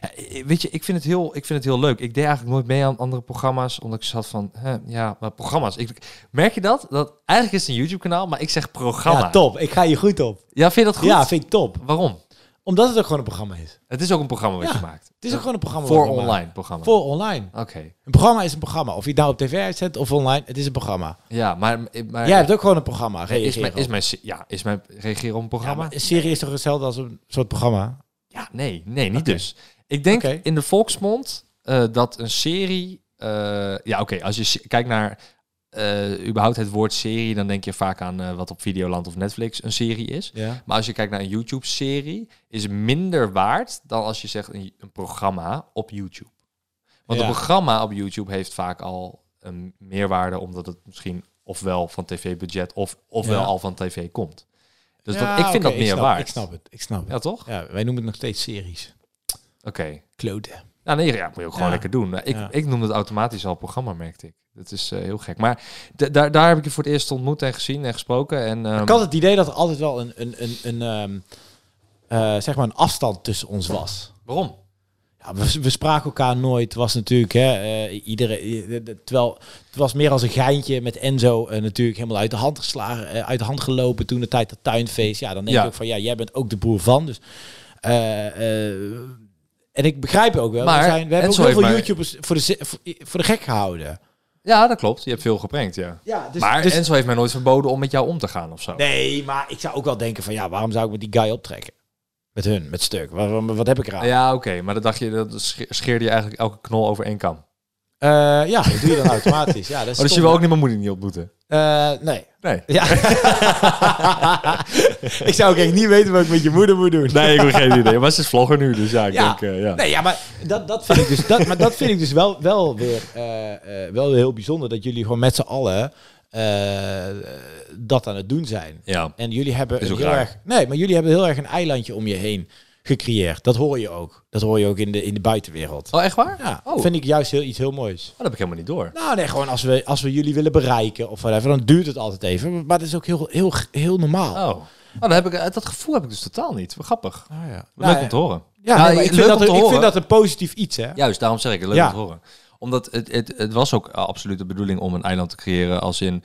[SPEAKER 1] ja, eh, weet je, ik vind het heel, ik vind het heel leuk. Ik deed eigenlijk nooit mee aan andere programma's, omdat ik zat van, hè, ja, maar programma's. Ik, merk je dat? Dat eigenlijk is het een YouTube kanaal, maar ik zeg programma.
[SPEAKER 2] ja, top. Ik ga je goed op.
[SPEAKER 1] Ja, vind je dat goed?
[SPEAKER 2] Ja, vind ik top.
[SPEAKER 1] Waarom?
[SPEAKER 2] Omdat het ook gewoon een programma is.
[SPEAKER 1] Het is ook een programma wat
[SPEAKER 2] Ja,
[SPEAKER 1] je maakt.
[SPEAKER 2] Het is ook gewoon een programma.
[SPEAKER 1] voor
[SPEAKER 2] wat we maken.
[SPEAKER 1] online programma.
[SPEAKER 2] Voor online.
[SPEAKER 1] Oké.
[SPEAKER 2] Een programma is een programma. Of je het nou op tv uitzet of online, het is een programma.
[SPEAKER 1] Ja, maar, maar
[SPEAKER 2] Jij hebt ook gewoon een programma.
[SPEAKER 1] Nee, is,
[SPEAKER 2] Reageren
[SPEAKER 1] mijn, is,
[SPEAKER 2] op.
[SPEAKER 1] mijn, se- ja, is mijn reageren op een
[SPEAKER 2] Ja,
[SPEAKER 1] programma?
[SPEAKER 2] maar
[SPEAKER 1] Ja,
[SPEAKER 2] een serie is toch hetzelfde als een soort programma?
[SPEAKER 1] nee, nee, niet
[SPEAKER 2] Oké.
[SPEAKER 1] dus. Ik denk
[SPEAKER 2] Oké.
[SPEAKER 1] in de volksmond eh, dat een serie... eh, ja, oké, als je se- kijkt naar eh, überhaupt het woord serie... dan denk je vaak aan eh, wat op Videoland of Netflix een serie is.
[SPEAKER 2] Ja.
[SPEAKER 1] Maar als je kijkt naar een YouTube-serie... is minder waard dan als je zegt een, een programma op YouTube. Want
[SPEAKER 2] Ja.
[SPEAKER 1] een programma op YouTube heeft vaak al een meerwaarde... omdat het misschien ofwel van tv-budget of, ofwel
[SPEAKER 2] Ja.
[SPEAKER 1] al van tv komt. Dus
[SPEAKER 2] Ja,
[SPEAKER 1] dat, ik vind
[SPEAKER 2] oké,
[SPEAKER 1] dat meer
[SPEAKER 2] snap-
[SPEAKER 1] waard.
[SPEAKER 2] Ik snap het. Ik snap het.
[SPEAKER 1] Ja, toch?
[SPEAKER 2] Ja, wij noemen het nog steeds series.
[SPEAKER 1] Oké.
[SPEAKER 2] Kloten.
[SPEAKER 1] Nou, nee, ja, moet je ook gewoon
[SPEAKER 2] Ja.
[SPEAKER 1] lekker doen. Nou, Ik,
[SPEAKER 2] Ja.
[SPEAKER 1] ik noemde het automatisch al programma, merkte ik. Dat is eh, heel gek. Maar d- daar, daar heb ik je voor het eerst ontmoet en gezien en gesproken. En, ehm,
[SPEAKER 2] Ik had het idee dat er altijd wel een, een, een, een, ehm, eh, zeg maar een afstand tussen ons was.
[SPEAKER 1] Waarom?
[SPEAKER 2] Ja, we, we spraken elkaar nooit. Het was natuurlijk, hè, eh, iedereen, eh, eh, terwijl het was meer als een geintje met Enzo eh, natuurlijk helemaal uit de hand geslagen, eh, uit de hand gelopen toen de tijd dat tuinfeest. Ja, dan denk
[SPEAKER 1] Ja.
[SPEAKER 2] je ook van, ja, jij bent ook de broer van. Dus, eh, eh, en ik begrijp ook wel.
[SPEAKER 1] Maar
[SPEAKER 2] we, zijn, we hebben ook
[SPEAKER 1] Enzo
[SPEAKER 2] heel veel
[SPEAKER 1] heeft maar-
[SPEAKER 2] YouTubers voor de, ze- voor, voor de gek gehouden.
[SPEAKER 1] Ja, dat klopt. Je hebt veel gebrengt, ja.
[SPEAKER 2] Ja, dus,
[SPEAKER 1] maar
[SPEAKER 2] dus-
[SPEAKER 1] Enzo heeft mij nooit verboden om met jou om te gaan of zo.
[SPEAKER 2] nee, maar ik zou ook wel denken van, ja, waarom zou ik met die guy optrekken? Met hun, met stuk. Waar- waar- Wat, heb ik eraan?
[SPEAKER 1] Ja, oké. Maar dat dacht je, dat sche- scheerde je eigenlijk elke knol over één kam.
[SPEAKER 2] Eh, ja, dat doe je dan automatisch. Ja, dat is
[SPEAKER 1] Oh, dus je
[SPEAKER 2] stom,
[SPEAKER 1] wil
[SPEAKER 2] hè?
[SPEAKER 1] ook niet mijn moeder niet ontmoeten?
[SPEAKER 2] Eh, nee.
[SPEAKER 1] Nee.
[SPEAKER 2] Ja. ik zou ook echt niet weten wat ik met je moeder moet doen.
[SPEAKER 1] Nee, ik heb geen idee. Maar ze is vlogger nu, dus ja, ik
[SPEAKER 2] Ja.
[SPEAKER 1] denk... eh, ja.
[SPEAKER 2] Nee, ja, maar dat, dat vind ik dus, dat, maar dat vind ik dus wel, wel weer eh, eh, wel weer heel bijzonder dat jullie gewoon met z'n allen eh, dat aan het doen zijn.
[SPEAKER 1] ja.
[SPEAKER 2] En jullie hebben
[SPEAKER 1] Is
[SPEAKER 2] een
[SPEAKER 1] ook
[SPEAKER 2] heel
[SPEAKER 1] raar.
[SPEAKER 2] erg. Nee, maar jullie hebben heel erg een eilandje om je heen gecreëerd. Dat hoor je ook. Dat hoor je ook in de, in de buitenwereld.
[SPEAKER 1] Oh, echt waar?
[SPEAKER 2] Ja,
[SPEAKER 1] Oh.
[SPEAKER 2] vind ik juist heel, iets heel moois.
[SPEAKER 1] Oh, dat heb ik helemaal niet door.
[SPEAKER 2] Nou, nee, gewoon als we, als we jullie willen bereiken of whatever, dan duurt het altijd even. Maar dat is ook heel, heel, heel normaal.
[SPEAKER 1] Oh. oh dan heb ik, dat gevoel heb ik dus totaal niet. Wat grappig.
[SPEAKER 2] Ah, ja.
[SPEAKER 1] Leuk
[SPEAKER 2] Nou,
[SPEAKER 1] om te horen.
[SPEAKER 2] Ja,
[SPEAKER 1] Nou,
[SPEAKER 2] nee, maar ik,
[SPEAKER 1] leuk
[SPEAKER 2] vind dat,
[SPEAKER 1] om te
[SPEAKER 2] een- ik
[SPEAKER 1] horen.
[SPEAKER 2] vind dat een positief iets, hè?
[SPEAKER 1] Juist, daarom zeg ik het. Leuk
[SPEAKER 2] Ja.
[SPEAKER 1] om te horen. Omdat het, het, het was ook absoluut de bedoeling om een eiland te creëren als in...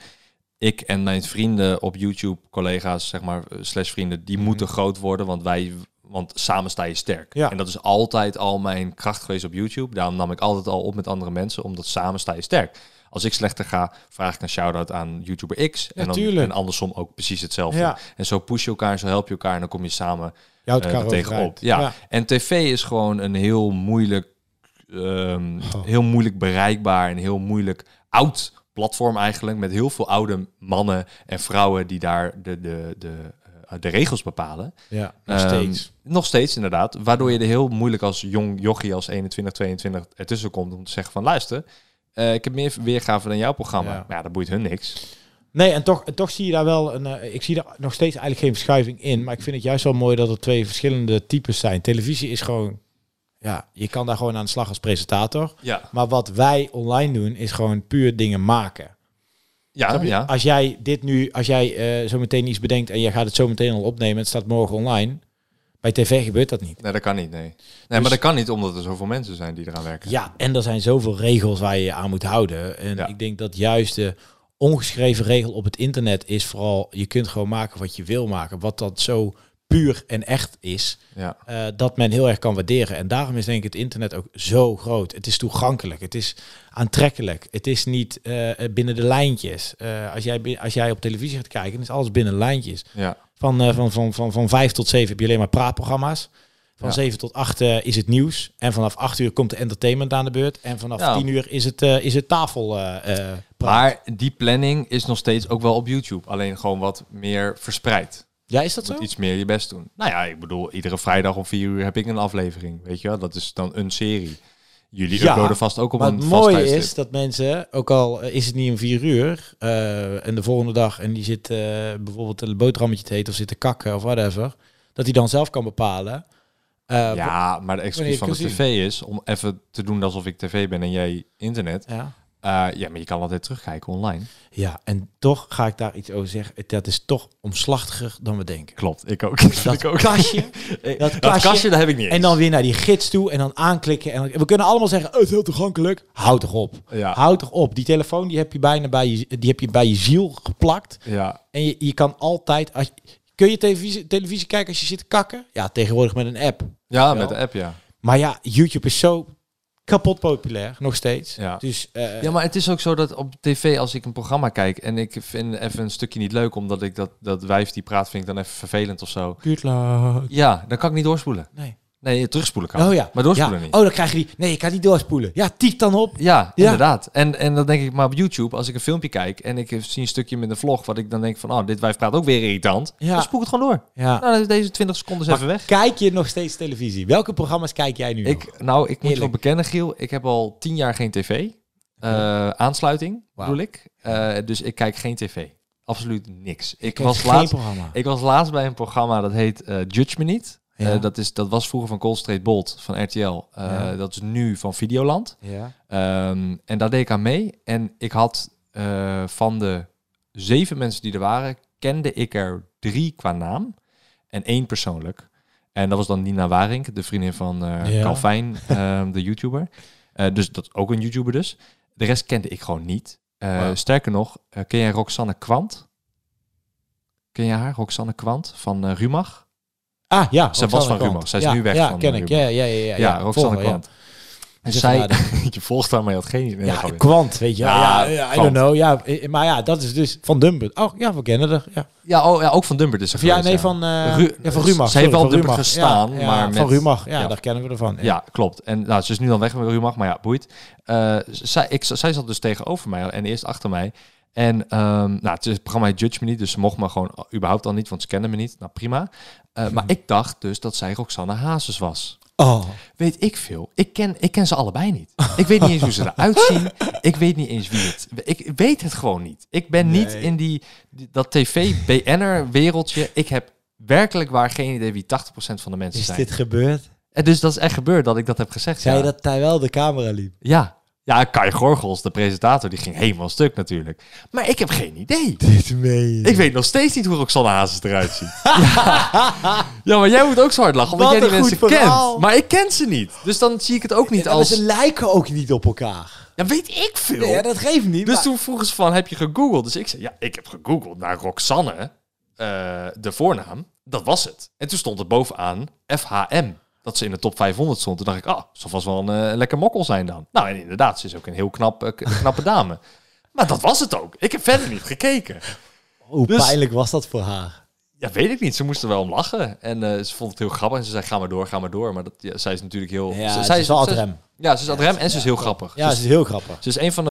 [SPEAKER 1] Ik en mijn vrienden op YouTube, collega's, zeg maar, eh, slash vrienden,
[SPEAKER 2] Mhm.
[SPEAKER 1] die moeten groot worden, want wij, want samen sta je sterk.
[SPEAKER 2] Ja.
[SPEAKER 1] En dat is altijd al mijn kracht geweest op YouTube. Daarom nam ik altijd al op met andere mensen, omdat samen sta je sterk. Als ik slechter ga, vraag ik een shout-out aan YouTuber X. En, dan,
[SPEAKER 2] Natuurlijk.
[SPEAKER 1] en andersom ook precies hetzelfde.
[SPEAKER 2] Ja.
[SPEAKER 1] En zo push je elkaar, en zo help je elkaar en dan kom je samen
[SPEAKER 2] Je houdt
[SPEAKER 1] eh,
[SPEAKER 2] elkaar
[SPEAKER 1] er tegenop.
[SPEAKER 2] overeind.
[SPEAKER 1] Ja.
[SPEAKER 2] Ja.
[SPEAKER 1] en tv is gewoon een heel moeilijk, ehm,
[SPEAKER 2] Oh.
[SPEAKER 1] heel moeilijk bereikbaar en heel moeilijk oud platform eigenlijk. Met heel veel oude mannen en vrouwen die daar de, de, de, eh, de regels bepalen.
[SPEAKER 2] Ja, nog
[SPEAKER 1] Ehm,
[SPEAKER 2] steeds.
[SPEAKER 1] Nog steeds inderdaad. Waardoor je er heel moeilijk als jong jochie als 21, 22 ertussen komt om te zeggen van luister, eh, ik heb meer weergave dan jouw programma.
[SPEAKER 2] Ja.
[SPEAKER 1] Maar ja, dat boeit hun niks.
[SPEAKER 2] Nee, en toch, en toch zie je daar wel een. eh, ik zie daar nog steeds eigenlijk geen verschuiving in. Maar ik vind het juist wel mooi dat er twee verschillende types zijn. Televisie is gewoon. Ja, je kan daar gewoon aan de slag als presentator.
[SPEAKER 1] Ja,
[SPEAKER 2] Maar wat wij online doen, is gewoon puur dingen maken.
[SPEAKER 1] ja,
[SPEAKER 2] Snap je?
[SPEAKER 1] ja.
[SPEAKER 2] Als jij dit nu, als jij eh, zo meteen iets bedenkt en jij gaat het zo meteen al opnemen, het staat morgen online. Bij tv gebeurt dat niet.
[SPEAKER 1] Nee, dat kan niet, nee. Nee,
[SPEAKER 2] Dus-
[SPEAKER 1] maar dat kan niet omdat er zoveel mensen zijn die eraan werken.
[SPEAKER 2] Ja, en er zijn zoveel regels waar je je aan moet houden. En
[SPEAKER 1] Ja.
[SPEAKER 2] ik denk dat juist de ongeschreven regel op het internet is vooral, je kunt gewoon maken wat je wil maken. Wat dat zo puur en echt is,
[SPEAKER 1] Ja.
[SPEAKER 2] eh, dat men heel erg kan waarderen. En daarom is denk ik het internet ook zo groot. Het is toegankelijk, het is aantrekkelijk, het is niet eh, binnen de lijntjes. Eh, als, jij, bi- als jij op televisie gaat kijken, dan is alles binnen de lijntjes.
[SPEAKER 1] ja.
[SPEAKER 2] Van, eh, van, van, van, van vijf tot zeven heb je alleen maar praatprogramma's. Van
[SPEAKER 1] Ja.
[SPEAKER 2] zeven tot acht eh, is het nieuws. En vanaf acht uur komt de entertainment aan de beurt. En vanaf
[SPEAKER 1] Ja.
[SPEAKER 2] tien uur is het, eh, is het tafel eh, eh, praat.
[SPEAKER 1] Maar die planning is nog steeds ook wel op YouTube. Alleen gewoon wat meer verspreid.
[SPEAKER 2] ja, is dat
[SPEAKER 1] Je
[SPEAKER 2] zo?
[SPEAKER 1] moet iets meer je best doen. Nou ja, ik bedoel, iedere vrijdag om vier uur heb ik een aflevering. Weet je wel, dat is dan een serie. Jullie
[SPEAKER 2] Ja,
[SPEAKER 1] uploaden vast ook op
[SPEAKER 2] Maar
[SPEAKER 1] een
[SPEAKER 2] het
[SPEAKER 1] vast
[SPEAKER 2] mooie
[SPEAKER 1] tijdstip.
[SPEAKER 2] is dat mensen, ook al eh, is het niet om vier uur... eh, en de volgende dag en die zit eh, bijvoorbeeld een boterhammetje te eten... of zit te kakken of whatever... dat hij dan zelf kan bepalen... eh, wa-
[SPEAKER 1] Ja, maar de excuus
[SPEAKER 2] wanneer
[SPEAKER 1] van de
[SPEAKER 2] je kunt
[SPEAKER 1] tv is om even te doen alsof ik tv ben en jij internet.
[SPEAKER 2] ja.
[SPEAKER 1] Eh, ja, maar je kan altijd terugkijken online.
[SPEAKER 2] ja, en toch ga ik daar iets over zeggen. Dat is toch omslachtiger dan we denken.
[SPEAKER 1] Klopt, ik ook. Dat, vind
[SPEAKER 2] Dat
[SPEAKER 1] ik ook.
[SPEAKER 2] kastje,
[SPEAKER 1] Eh,
[SPEAKER 2] dat
[SPEAKER 1] dat
[SPEAKER 2] kastje-
[SPEAKER 1] kastje, dat heb ik niet
[SPEAKER 2] En
[SPEAKER 1] eens.
[SPEAKER 2] dan weer naar die gids toe en dan aanklikken. En we kunnen allemaal zeggen, "Oh, het is heel toegankelijk. Houd toch op.
[SPEAKER 1] Ja.
[SPEAKER 2] Houd toch op. Die telefoon die heb je bijna bij je, die heb je, bij je ziel geplakt.
[SPEAKER 1] Ja,
[SPEAKER 2] En je, je kan altijd... Als, kun je televisie, televisie kijken als je zit te kakken? Ja, tegenwoordig met een app.
[SPEAKER 1] ja
[SPEAKER 2] Wel.
[SPEAKER 1] met de app, ja.
[SPEAKER 2] Maar ja, YouTube is zo kapot populair, nog steeds.
[SPEAKER 1] Ja.
[SPEAKER 2] Dus eh,
[SPEAKER 1] Ja, maar het is ook zo dat op tv, als ik een programma kijk en ik vind even een stukje niet leuk, omdat ik dat, dat wijf die praat vind ik dan even vervelend of zo.
[SPEAKER 2] Good luck.
[SPEAKER 1] Ja, dan kan ik niet doorspoelen.
[SPEAKER 2] Nee.
[SPEAKER 1] Nee, terugspoelen kan.
[SPEAKER 2] Oh ja.
[SPEAKER 1] Maar doorspoelen
[SPEAKER 2] Ja.
[SPEAKER 1] niet.
[SPEAKER 2] Oh, dan krijg je die... Nee, ik kan niet doorspoelen. Ja, typ dan op.
[SPEAKER 1] Ja,
[SPEAKER 2] Ja.
[SPEAKER 1] inderdaad. En, en dan denk ik, maar op YouTube, als ik een filmpje kijk en ik zie een stukje met een vlog, wat ik dan denk van, oh, dit wijf praat ook weer irritant,
[SPEAKER 2] Ja.
[SPEAKER 1] dan spoel ik het gewoon door.
[SPEAKER 2] Ja.
[SPEAKER 1] Nou, dan is deze 20 seconden is even weg.
[SPEAKER 2] Kijk je nog steeds televisie? Welke programma's kijk jij nu nog?
[SPEAKER 1] Ik, nou, ik moet je wel
[SPEAKER 2] Eerlijk.
[SPEAKER 1] bekennen, Giel. Ik heb al tien jaar geen tv. Eh, Aansluiting,
[SPEAKER 2] Wauw.
[SPEAKER 1] bedoel ik. Eh, dus ik kijk geen tv. Absoluut niks. Ik
[SPEAKER 2] Kijk
[SPEAKER 1] was
[SPEAKER 2] geen
[SPEAKER 1] laatst...
[SPEAKER 2] programma.
[SPEAKER 1] Ik was laatst bij een programma dat heet eh, Judge Me Niet.
[SPEAKER 2] Ja.
[SPEAKER 1] Eh, dat, is, dat was vroeger van Cold Straight Bolt van RTL. Eh,
[SPEAKER 2] Ja.
[SPEAKER 1] Dat is nu van Videoland.
[SPEAKER 2] Ja.
[SPEAKER 1] Ehm, en daar deed ik aan mee. En ik had eh, van de zeven mensen die er waren, kende ik er drie qua naam en één persoonlijk. En dat was dan Nina Waring, de vriendin van eh
[SPEAKER 2] Ja.
[SPEAKER 1] Calvin, ehm, de YouTuber. Eh, dus dat ook een YouTuber dus. De rest kende ik gewoon niet. Eh,
[SPEAKER 2] Wauw.
[SPEAKER 1] Sterker nog, eh, ken jij Roxanne Kwant? Ken je haar, Roxanne Kwant van eh, Rumach?
[SPEAKER 2] Ah,
[SPEAKER 1] Zij
[SPEAKER 2] ja.
[SPEAKER 1] was
[SPEAKER 2] Roxanne
[SPEAKER 1] van
[SPEAKER 2] Kwant.
[SPEAKER 1] Rumor. Zij is
[SPEAKER 2] Ja,
[SPEAKER 1] nu weg
[SPEAKER 2] ja,
[SPEAKER 1] van
[SPEAKER 2] ken ik.
[SPEAKER 1] Rumor.
[SPEAKER 2] Ja, ja, ja. Ja,
[SPEAKER 1] Ja, Roxanne
[SPEAKER 2] volgen, ja.
[SPEAKER 1] Kwant. En
[SPEAKER 2] Zeg
[SPEAKER 1] zij,
[SPEAKER 2] maar, eh,
[SPEAKER 1] je volgt haar, maar je had geen idee. Nee,
[SPEAKER 2] Ja,
[SPEAKER 1] grapje.
[SPEAKER 2] kwant, weet je wel.
[SPEAKER 1] Ja,
[SPEAKER 2] Ja, ja, I
[SPEAKER 1] Kwant.
[SPEAKER 2] don't know. Ja, eh, maar ja, dat is dus van Dumbo. Oh, ja, we kennen haar. Ja,
[SPEAKER 1] ja, oh, ja, ook van Dumper dus.
[SPEAKER 2] Of ja nee, van, eh
[SPEAKER 1] Ru-
[SPEAKER 2] ja, van Rumach.
[SPEAKER 1] Ze heeft wel
[SPEAKER 2] sorry, van
[SPEAKER 1] Dumper
[SPEAKER 2] Rumach.
[SPEAKER 1] gestaan,
[SPEAKER 2] Ja, ja,
[SPEAKER 1] maar
[SPEAKER 2] Van
[SPEAKER 1] met-
[SPEAKER 2] Rumach, ja,
[SPEAKER 1] ja.
[SPEAKER 2] daar kennen we ervan.
[SPEAKER 1] Ja, klopt. En nou, ze is nu dan weg met Rumach, maar ja, boeit. Eh, zij, ik, zij zat dus tegenover mij en eerst achter mij. En ehm, nou, het, is- het programma heet Judge Me Niet, dus ze mocht me gewoon überhaupt al niet, want ze kenden me niet. Nou, prima. Eh, Maar
[SPEAKER 2] Mhm.
[SPEAKER 1] ik dacht dus dat zij Roxanne Hazes was.
[SPEAKER 2] Oh.
[SPEAKER 1] Weet ik veel. Ik ken, ik ken ze allebei niet. Ik weet niet eens hoe ze eruit zien. Ik weet niet eens wie het... Ik weet het gewoon niet. Ik ben niet in die, die- dat tv-BN'er-wereldje. Ik heb werkelijk waar geen idee wie 80% van de mensen
[SPEAKER 2] Is
[SPEAKER 1] zijn.
[SPEAKER 2] dit gebeurd?
[SPEAKER 1] En dus dat is echt gebeurd dat ik dat heb gezegd.
[SPEAKER 2] Zei
[SPEAKER 1] ja.
[SPEAKER 2] je dat hij wel de camera liep?
[SPEAKER 1] Ja. Ja, Kai Gorgels, de presentator, die ging helemaal stuk natuurlijk. Maar ik heb geen idee.
[SPEAKER 2] Dit mee.
[SPEAKER 1] Ik weet nog steeds niet hoe Roxanne Hazes eruit ziet. ja. ja, maar jij moet ook zo hard lachen, omdat
[SPEAKER 2] Wat
[SPEAKER 1] jij die
[SPEAKER 2] een
[SPEAKER 1] mensen
[SPEAKER 2] goed verhaal.
[SPEAKER 1] kent. Maar ik ken ze niet. Dus dan zie ik het ook niet
[SPEAKER 2] Ja, maar
[SPEAKER 1] als...
[SPEAKER 2] Ze lijken ook niet op elkaar.
[SPEAKER 1] Ja, weet ik veel.
[SPEAKER 2] Nee, ja, dat geeft niet.
[SPEAKER 1] dus
[SPEAKER 2] maar-
[SPEAKER 1] toen vroegen ze van, heb je gegoogeld? Dus ik zei, ja, ik heb gegoogeld naar Roxanne, eh, de voornaam. Dat was het. En toen stond er bovenaan FHM. Dat ze in de top 500 stond. Toen dacht ik, ah, zal vast wel een eh, lekker mokkel zijn dan. Nou, en inderdaad, ze is ook een heel knap, eh, k- knappe dame. Maar dat was het ook. Ik heb verder niet gekeken.
[SPEAKER 2] Hoe
[SPEAKER 1] dus-
[SPEAKER 2] pijnlijk was dat voor haar?
[SPEAKER 1] Ja, weet ik niet. Ze moest er wel om lachen. En eh, ze vond het heel grappig. En ze zei, ga maar door, ga maar door. Maar dat, ja, zij is natuurlijk heel...
[SPEAKER 2] Ja,
[SPEAKER 1] zij,
[SPEAKER 2] ze
[SPEAKER 1] zij
[SPEAKER 2] is wel ad
[SPEAKER 1] zij-
[SPEAKER 2] rem.
[SPEAKER 1] Ja, ze is ad rem en ze is heel grappig.
[SPEAKER 2] Ja,
[SPEAKER 1] ze,
[SPEAKER 2] dat
[SPEAKER 1] is,
[SPEAKER 2] is heel grappig.
[SPEAKER 1] ze is een van de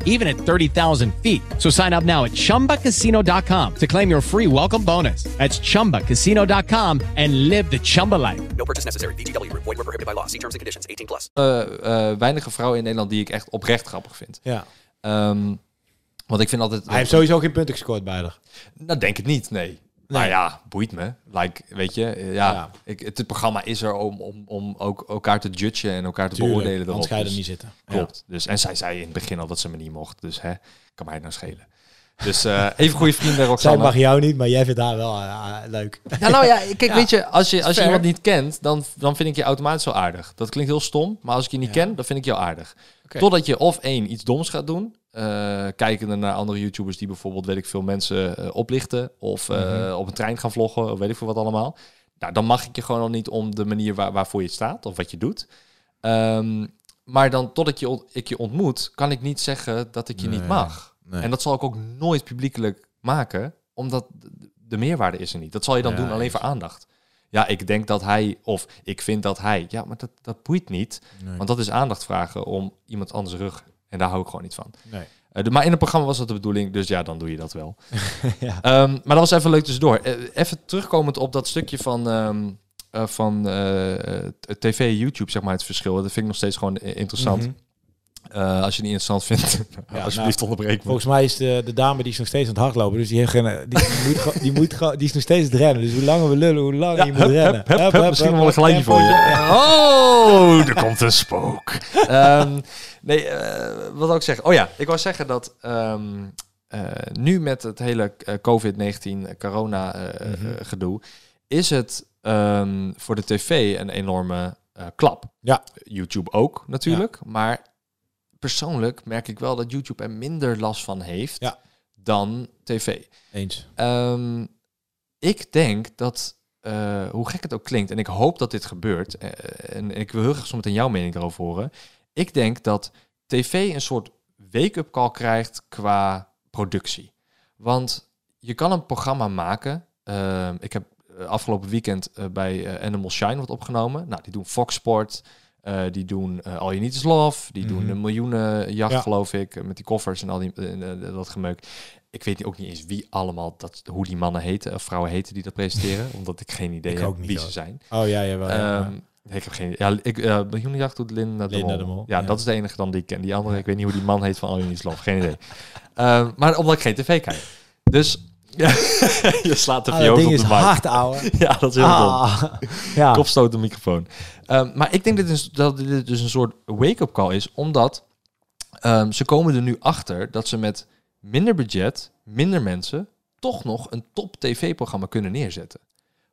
[SPEAKER 5] even at 30,000 feet. So sign up now at chumbacasino.com to claim your free welcome bonus. That's chumbacasino.com and live the Chumba life.
[SPEAKER 6] No purchase necessary. VGW Group. Void were prohibited by law. See terms and conditions. 18 plus.
[SPEAKER 1] eh, eh, weinige vrouwen in Nederland die ik echt oprecht grappig vind.
[SPEAKER 2] Ja.
[SPEAKER 1] Ehm, want ik vind altijd...
[SPEAKER 2] Hij heeft sowieso geen punten gescoord bij haar.
[SPEAKER 1] Nou, denk het niet, nee. Nou ja, boeit me. Like, weet je, eh, ja,
[SPEAKER 2] Ja.
[SPEAKER 1] Ik, het, het programma is er om, om, om ook elkaar te judgen en elkaar te beoordelen. erop.
[SPEAKER 2] Anders ga je er
[SPEAKER 1] Dus-
[SPEAKER 2] niet zitten.
[SPEAKER 1] Klopt. Dus, en zij zei in het begin al dat ze me niet mocht. Dus hè, kan mij het nou schelen. Dus eh, even goede vrienden,
[SPEAKER 2] Zij
[SPEAKER 1] Roxanne.
[SPEAKER 2] mag jou niet, maar jij vindt haar wel eh, eh, leuk.
[SPEAKER 1] Ja, nou ja, kijk, weet je, als je, als je
[SPEAKER 2] fair.
[SPEAKER 1] iemand niet kent, dan, dan vind ik je automatisch wel aardig. Dat klinkt heel stom, maar als ik je niet ken, dan vind ik je wel aardig. Totdat je of één, iets doms gaat doen, eh kijkende naar andere YouTubers die bijvoorbeeld, weet ik veel, mensen eh, oplichten, of eh, op een trein gaan vloggen, of weet ik veel wat allemaal. Nou, dan mag ik je gewoon al niet om de manier waar, waarvoor je staat, of wat je doet. Ehm, maar dan, totdat je ont- ik je ontmoet, kan ik niet zeggen dat ik je niet mag. En dat zal ik ook nooit publiekelijk maken, omdat de meerwaarde is er niet. Dat zal je dan doen alleen voor aandacht. Ja, ik denk dat hij, of ik vind dat hij. Ja, maar dat, dat boeit niet. Want dat is aandacht vragen om iemand anders rug. En daar hou ik gewoon niet van.
[SPEAKER 2] Nee.
[SPEAKER 1] Eh, de- maar in het programma was dat de bedoeling, dus ja, dan doe je dat wel. Ehm, maar dat was even leuk tussendoor. Eh, even terugkomend op dat stukje van, ehm, eh, van eh, eh, t- tv YouTube, zeg maar, het verschil. Dat vind ik nog steeds gewoon eh, interessant. Eh, als je het niet interessant vindt,
[SPEAKER 2] Ja,
[SPEAKER 1] alsjeblieft
[SPEAKER 2] nou,
[SPEAKER 1] onderbreek me.
[SPEAKER 2] Volgens mij is de, de dame die is nog steeds aan het hardlopen. Dus die, heeft geen, die, die moet, gewoon- die, moet, gewoon- die is nog steeds aan het rennen. Dus hoe langer we lullen, hoe langer je moet rennen.
[SPEAKER 1] Hup, hup, hup, misschien wel een geluidje voor je. Oh, er komt een spook. Ehm, nee, eh, wat wil ik zeggen? Oh ja, ik wou zeggen dat ehm, eh, nu met het hele eh, COVID-19 corona eh, eh, gedoe, is het ehm, voor de tv een enorme eh, klap.
[SPEAKER 2] Ja.
[SPEAKER 1] YouTube ook natuurlijk, maar persoonlijk merk ik wel dat YouTube er minder last van heeft
[SPEAKER 2] Ja.
[SPEAKER 1] dan tv.
[SPEAKER 2] Eens.
[SPEAKER 1] Ehm, ik denk dat, eh, hoe gek het ook klinkt, en ik hoop dat dit gebeurt, eh, en ik wil heel graag zo meteen jouw mening daarover horen. Ik denk dat tv een soort wake-up call krijgt qua productie. Want je kan een programma maken. Ehm, ik heb eh, afgelopen weekend eh, bij eh, Animal Shine wat opgenomen. Nou, die doen Fox Sport. eh, die doen eh, All You Need Is Love. Die doen
[SPEAKER 2] Mhm.
[SPEAKER 1] een miljoenenjacht,
[SPEAKER 2] Ja.
[SPEAKER 1] geloof ik. eh, Met die koffers en al die, eh, eh, dat gemeuk. Ik weet ook niet eens wie allemaal, dat, hoe die mannen heten, of vrouwen heten die dat presenteren. omdat ik geen idee
[SPEAKER 2] Ik
[SPEAKER 1] heb
[SPEAKER 2] ook niet,
[SPEAKER 1] wie ze
[SPEAKER 2] hoor.
[SPEAKER 1] zijn.
[SPEAKER 2] Oh ja, jawel. ja.
[SPEAKER 1] Ehm, ik heb geen Ja, ik, eh miljoenenjacht doet Linda de
[SPEAKER 2] Linda
[SPEAKER 1] Mol.
[SPEAKER 2] de Mol,
[SPEAKER 1] Ja,
[SPEAKER 2] ja.
[SPEAKER 1] dat is de enige dan die ik ken. Die andere, ik weet niet hoe die man heet van Alien Islam. Geen idee. Ehm, maar omdat ik geen tv kijk. Dus ja, je slaat de
[SPEAKER 2] Ah,
[SPEAKER 1] viool
[SPEAKER 2] dat
[SPEAKER 1] op de
[SPEAKER 2] ding
[SPEAKER 1] mic.
[SPEAKER 2] is hard, ouwe.
[SPEAKER 1] Ja, dat is heel dom.
[SPEAKER 2] Ah, ja.
[SPEAKER 1] Kopstoot de microfoon. Ehm, maar ik denk dat dit, is- dat dit dus een soort wake-up call is. Omdat ehm, ze komen er nu achter dat ze met minder budget, minder mensen... toch nog een top tv-programma kunnen neerzetten.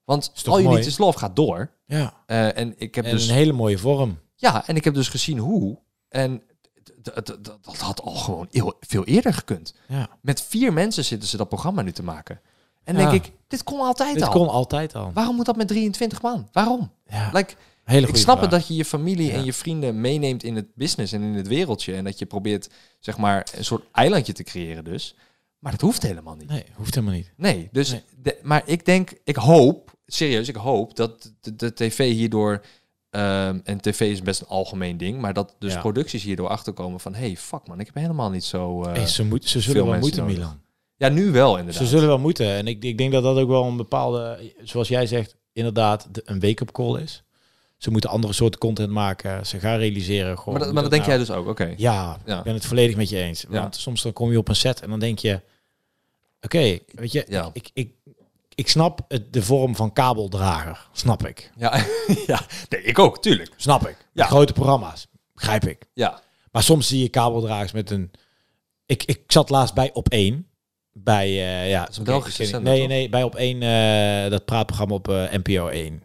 [SPEAKER 1] Want
[SPEAKER 2] toch
[SPEAKER 1] al je
[SPEAKER 2] mooi?
[SPEAKER 1] niet is love gaat door.
[SPEAKER 2] ja.
[SPEAKER 1] Eh, en ik heb
[SPEAKER 2] En
[SPEAKER 1] dus
[SPEAKER 2] een hele mooie vorm.
[SPEAKER 1] ja, en ik heb dus gezien hoe. En d- d- d- d- dat had al gewoon heel, veel eerder gekund.
[SPEAKER 2] Ja.
[SPEAKER 1] Met vier mensen zitten ze dat programma nu te maken. En
[SPEAKER 2] Ja.
[SPEAKER 1] denk ik, dit kon altijd
[SPEAKER 2] Dit
[SPEAKER 1] al.
[SPEAKER 2] kon altijd al.
[SPEAKER 1] Waarom moet dat met 23 man? Waarom?
[SPEAKER 2] Ja.
[SPEAKER 1] Like,
[SPEAKER 2] Hele
[SPEAKER 1] ik
[SPEAKER 2] goede
[SPEAKER 1] snap
[SPEAKER 2] vraag.
[SPEAKER 1] het dat je je familie en je vrienden meeneemt in het business en in het wereldje. En dat je probeert, zeg maar, een soort eilandje te creëren dus. Maar dat hoeft helemaal niet.
[SPEAKER 2] Nee, hoeft helemaal niet.
[SPEAKER 1] Nee, dus de- maar ik denk, ik hoop, serieus, ik hoop dat de, de tv hierdoor, ehm, en tv is best een algemeen ding, maar dat dus
[SPEAKER 2] Ja.
[SPEAKER 1] producties hierdoor achterkomen van, hey, fuck man, ik heb helemaal niet zo. eh,
[SPEAKER 2] Hey, ze, moet, ze
[SPEAKER 1] veel
[SPEAKER 2] zullen wel
[SPEAKER 1] mensen
[SPEAKER 2] moeten,
[SPEAKER 1] nodig.
[SPEAKER 2] Milan.
[SPEAKER 1] ja, nu wel inderdaad.
[SPEAKER 2] Ze zullen wel moeten. En ik, ik denk dat dat ook wel een bepaalde, zoals jij zegt, inderdaad de- een wake-up call is. Ze moeten andere soorten content maken. Ze gaan realiseren. Gewoon,
[SPEAKER 1] maar dat,
[SPEAKER 2] hoe
[SPEAKER 1] maar dat denk
[SPEAKER 2] nou-
[SPEAKER 1] jij dus ook, oké.
[SPEAKER 2] Ja,
[SPEAKER 1] Ja.
[SPEAKER 2] ik ben het volledig met je eens.
[SPEAKER 1] Ja.
[SPEAKER 2] Want soms dan kom je op een set en dan denk je... Oké, weet je,
[SPEAKER 1] Ja.
[SPEAKER 2] ik, ik, ik snap het, de vorm van kabeldrager. Snap ik.
[SPEAKER 1] Ja, ja. Nee, ik ook, tuurlijk.
[SPEAKER 2] Snap ik.
[SPEAKER 1] Ja.
[SPEAKER 2] De grote programma's. Begrijp ik.
[SPEAKER 1] Ja,
[SPEAKER 2] Maar soms zie je kabeldragers met een... Ik, ik zat laatst bij Op 1. Bij, eh, ja,
[SPEAKER 1] is een
[SPEAKER 2] oké,
[SPEAKER 1] Belgische
[SPEAKER 2] ik-
[SPEAKER 1] zender,
[SPEAKER 2] Nee,
[SPEAKER 1] toch?
[SPEAKER 2] nee, bij Op 1, eh, dat praatprogramma op eh, NPO 1.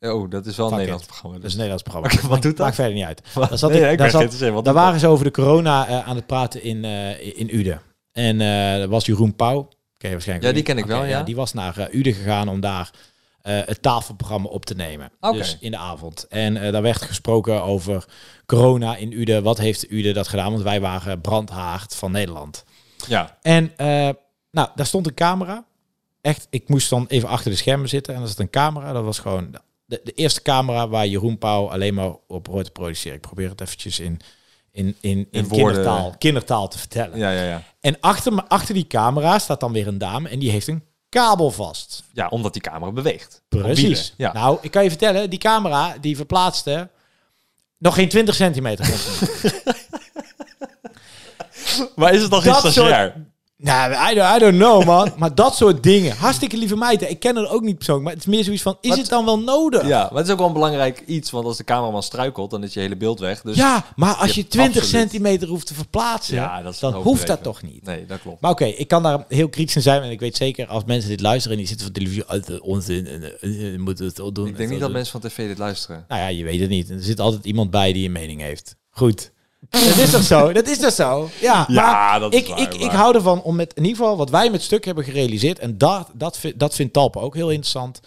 [SPEAKER 1] oh, dat is wel een
[SPEAKER 2] Fuck
[SPEAKER 1] Nederlands
[SPEAKER 2] it.
[SPEAKER 1] programma.
[SPEAKER 2] Dat
[SPEAKER 1] dus-
[SPEAKER 2] is een Nederlands programma.
[SPEAKER 1] Oké, wat doet dat?
[SPEAKER 2] Maakt verder niet uit. Daar, zat
[SPEAKER 1] Nee,
[SPEAKER 2] ik,
[SPEAKER 1] ik ben
[SPEAKER 2] daar, zat,
[SPEAKER 1] geïnteresseerd, wat
[SPEAKER 2] daar
[SPEAKER 1] doet
[SPEAKER 2] waren ze over de corona eh, aan het praten in, eh, in Uden. En eh dat was Jeroen Pauw. Ken je waarschijnlijk
[SPEAKER 1] Ja,
[SPEAKER 2] ook
[SPEAKER 1] die ken ik
[SPEAKER 2] Oké,
[SPEAKER 1] wel, ja.
[SPEAKER 2] Die was naar eh, Uden gegaan om daar eh, het tafelprogramma op te nemen.
[SPEAKER 1] Oké.
[SPEAKER 2] Dus in de avond. En eh, daar werd gesproken over corona in Uden. Wat heeft Uden dat gedaan? Want wij waren brandhaard van Nederland.
[SPEAKER 1] Ja,
[SPEAKER 2] En eh, nou, daar stond een camera. Echt, ik moest dan even achter de schermen zitten. En er zat een camera. Dat was gewoon de- de, de eerste camera waar Jeroen Pauw alleen maar op hoort te produceren. Ik probeer het eventjes in, in, in, in,
[SPEAKER 1] woorden. eh.
[SPEAKER 2] kindertaal, kindertaal te vertellen.
[SPEAKER 1] ja, ja, ja.
[SPEAKER 2] En achter, me- achter die camera staat dan weer een dame. En die heeft een kabel vast.
[SPEAKER 1] Ja, omdat die camera beweegt. Op wielen,
[SPEAKER 2] Precies.
[SPEAKER 1] Ja.
[SPEAKER 2] Nou, ik kan je vertellen, die camera die verplaatste nog geen 20 centimeter.
[SPEAKER 1] maar is het dan geen
[SPEAKER 2] dat soort-
[SPEAKER 1] stagiair?
[SPEAKER 2] nou, I don't, I don't know, man. Maar dat soort dingen. Hartstikke lieve meiden. Ik ken het ook niet persoonlijk, maar het is meer zoiets van, is
[SPEAKER 1] Wat?
[SPEAKER 2] het dan wel nodig?
[SPEAKER 1] Ja, maar het is ook wel een belangrijk iets, want als de cameraman struikelt, dan is je hele beeld weg. Dus
[SPEAKER 2] Ja, maar als
[SPEAKER 1] Ja,
[SPEAKER 2] je 20
[SPEAKER 1] absoluut.
[SPEAKER 2] centimeter hoeft te verplaatsen,
[SPEAKER 1] Ja, dat is
[SPEAKER 2] dan
[SPEAKER 1] een
[SPEAKER 2] hoeft dat
[SPEAKER 1] overdreven.
[SPEAKER 2] toch niet.
[SPEAKER 1] Nee, dat klopt.
[SPEAKER 2] Maar oké, ik kan daar heel kritisch in zijn. En ik weet zeker, als mensen dit luisteren en die zitten van televisie, uit de onzin, en eh, eh, eh, moeten het al doen.
[SPEAKER 1] Ik denk niet dat mensen van tv dit luisteren.
[SPEAKER 2] Nou ja, je weet het niet. Er zit altijd iemand bij die een mening heeft. Goed. Dat is toch zo? Dat is toch zo? Ja,
[SPEAKER 1] Ja,
[SPEAKER 2] maar
[SPEAKER 1] dat is
[SPEAKER 2] ik,
[SPEAKER 1] waar,
[SPEAKER 2] ik, ik
[SPEAKER 1] maar-
[SPEAKER 2] hou ervan om met, in ieder geval wat wij met stuk hebben gerealiseerd. En dat, dat, vind- dat vindt Talpa ook heel interessant.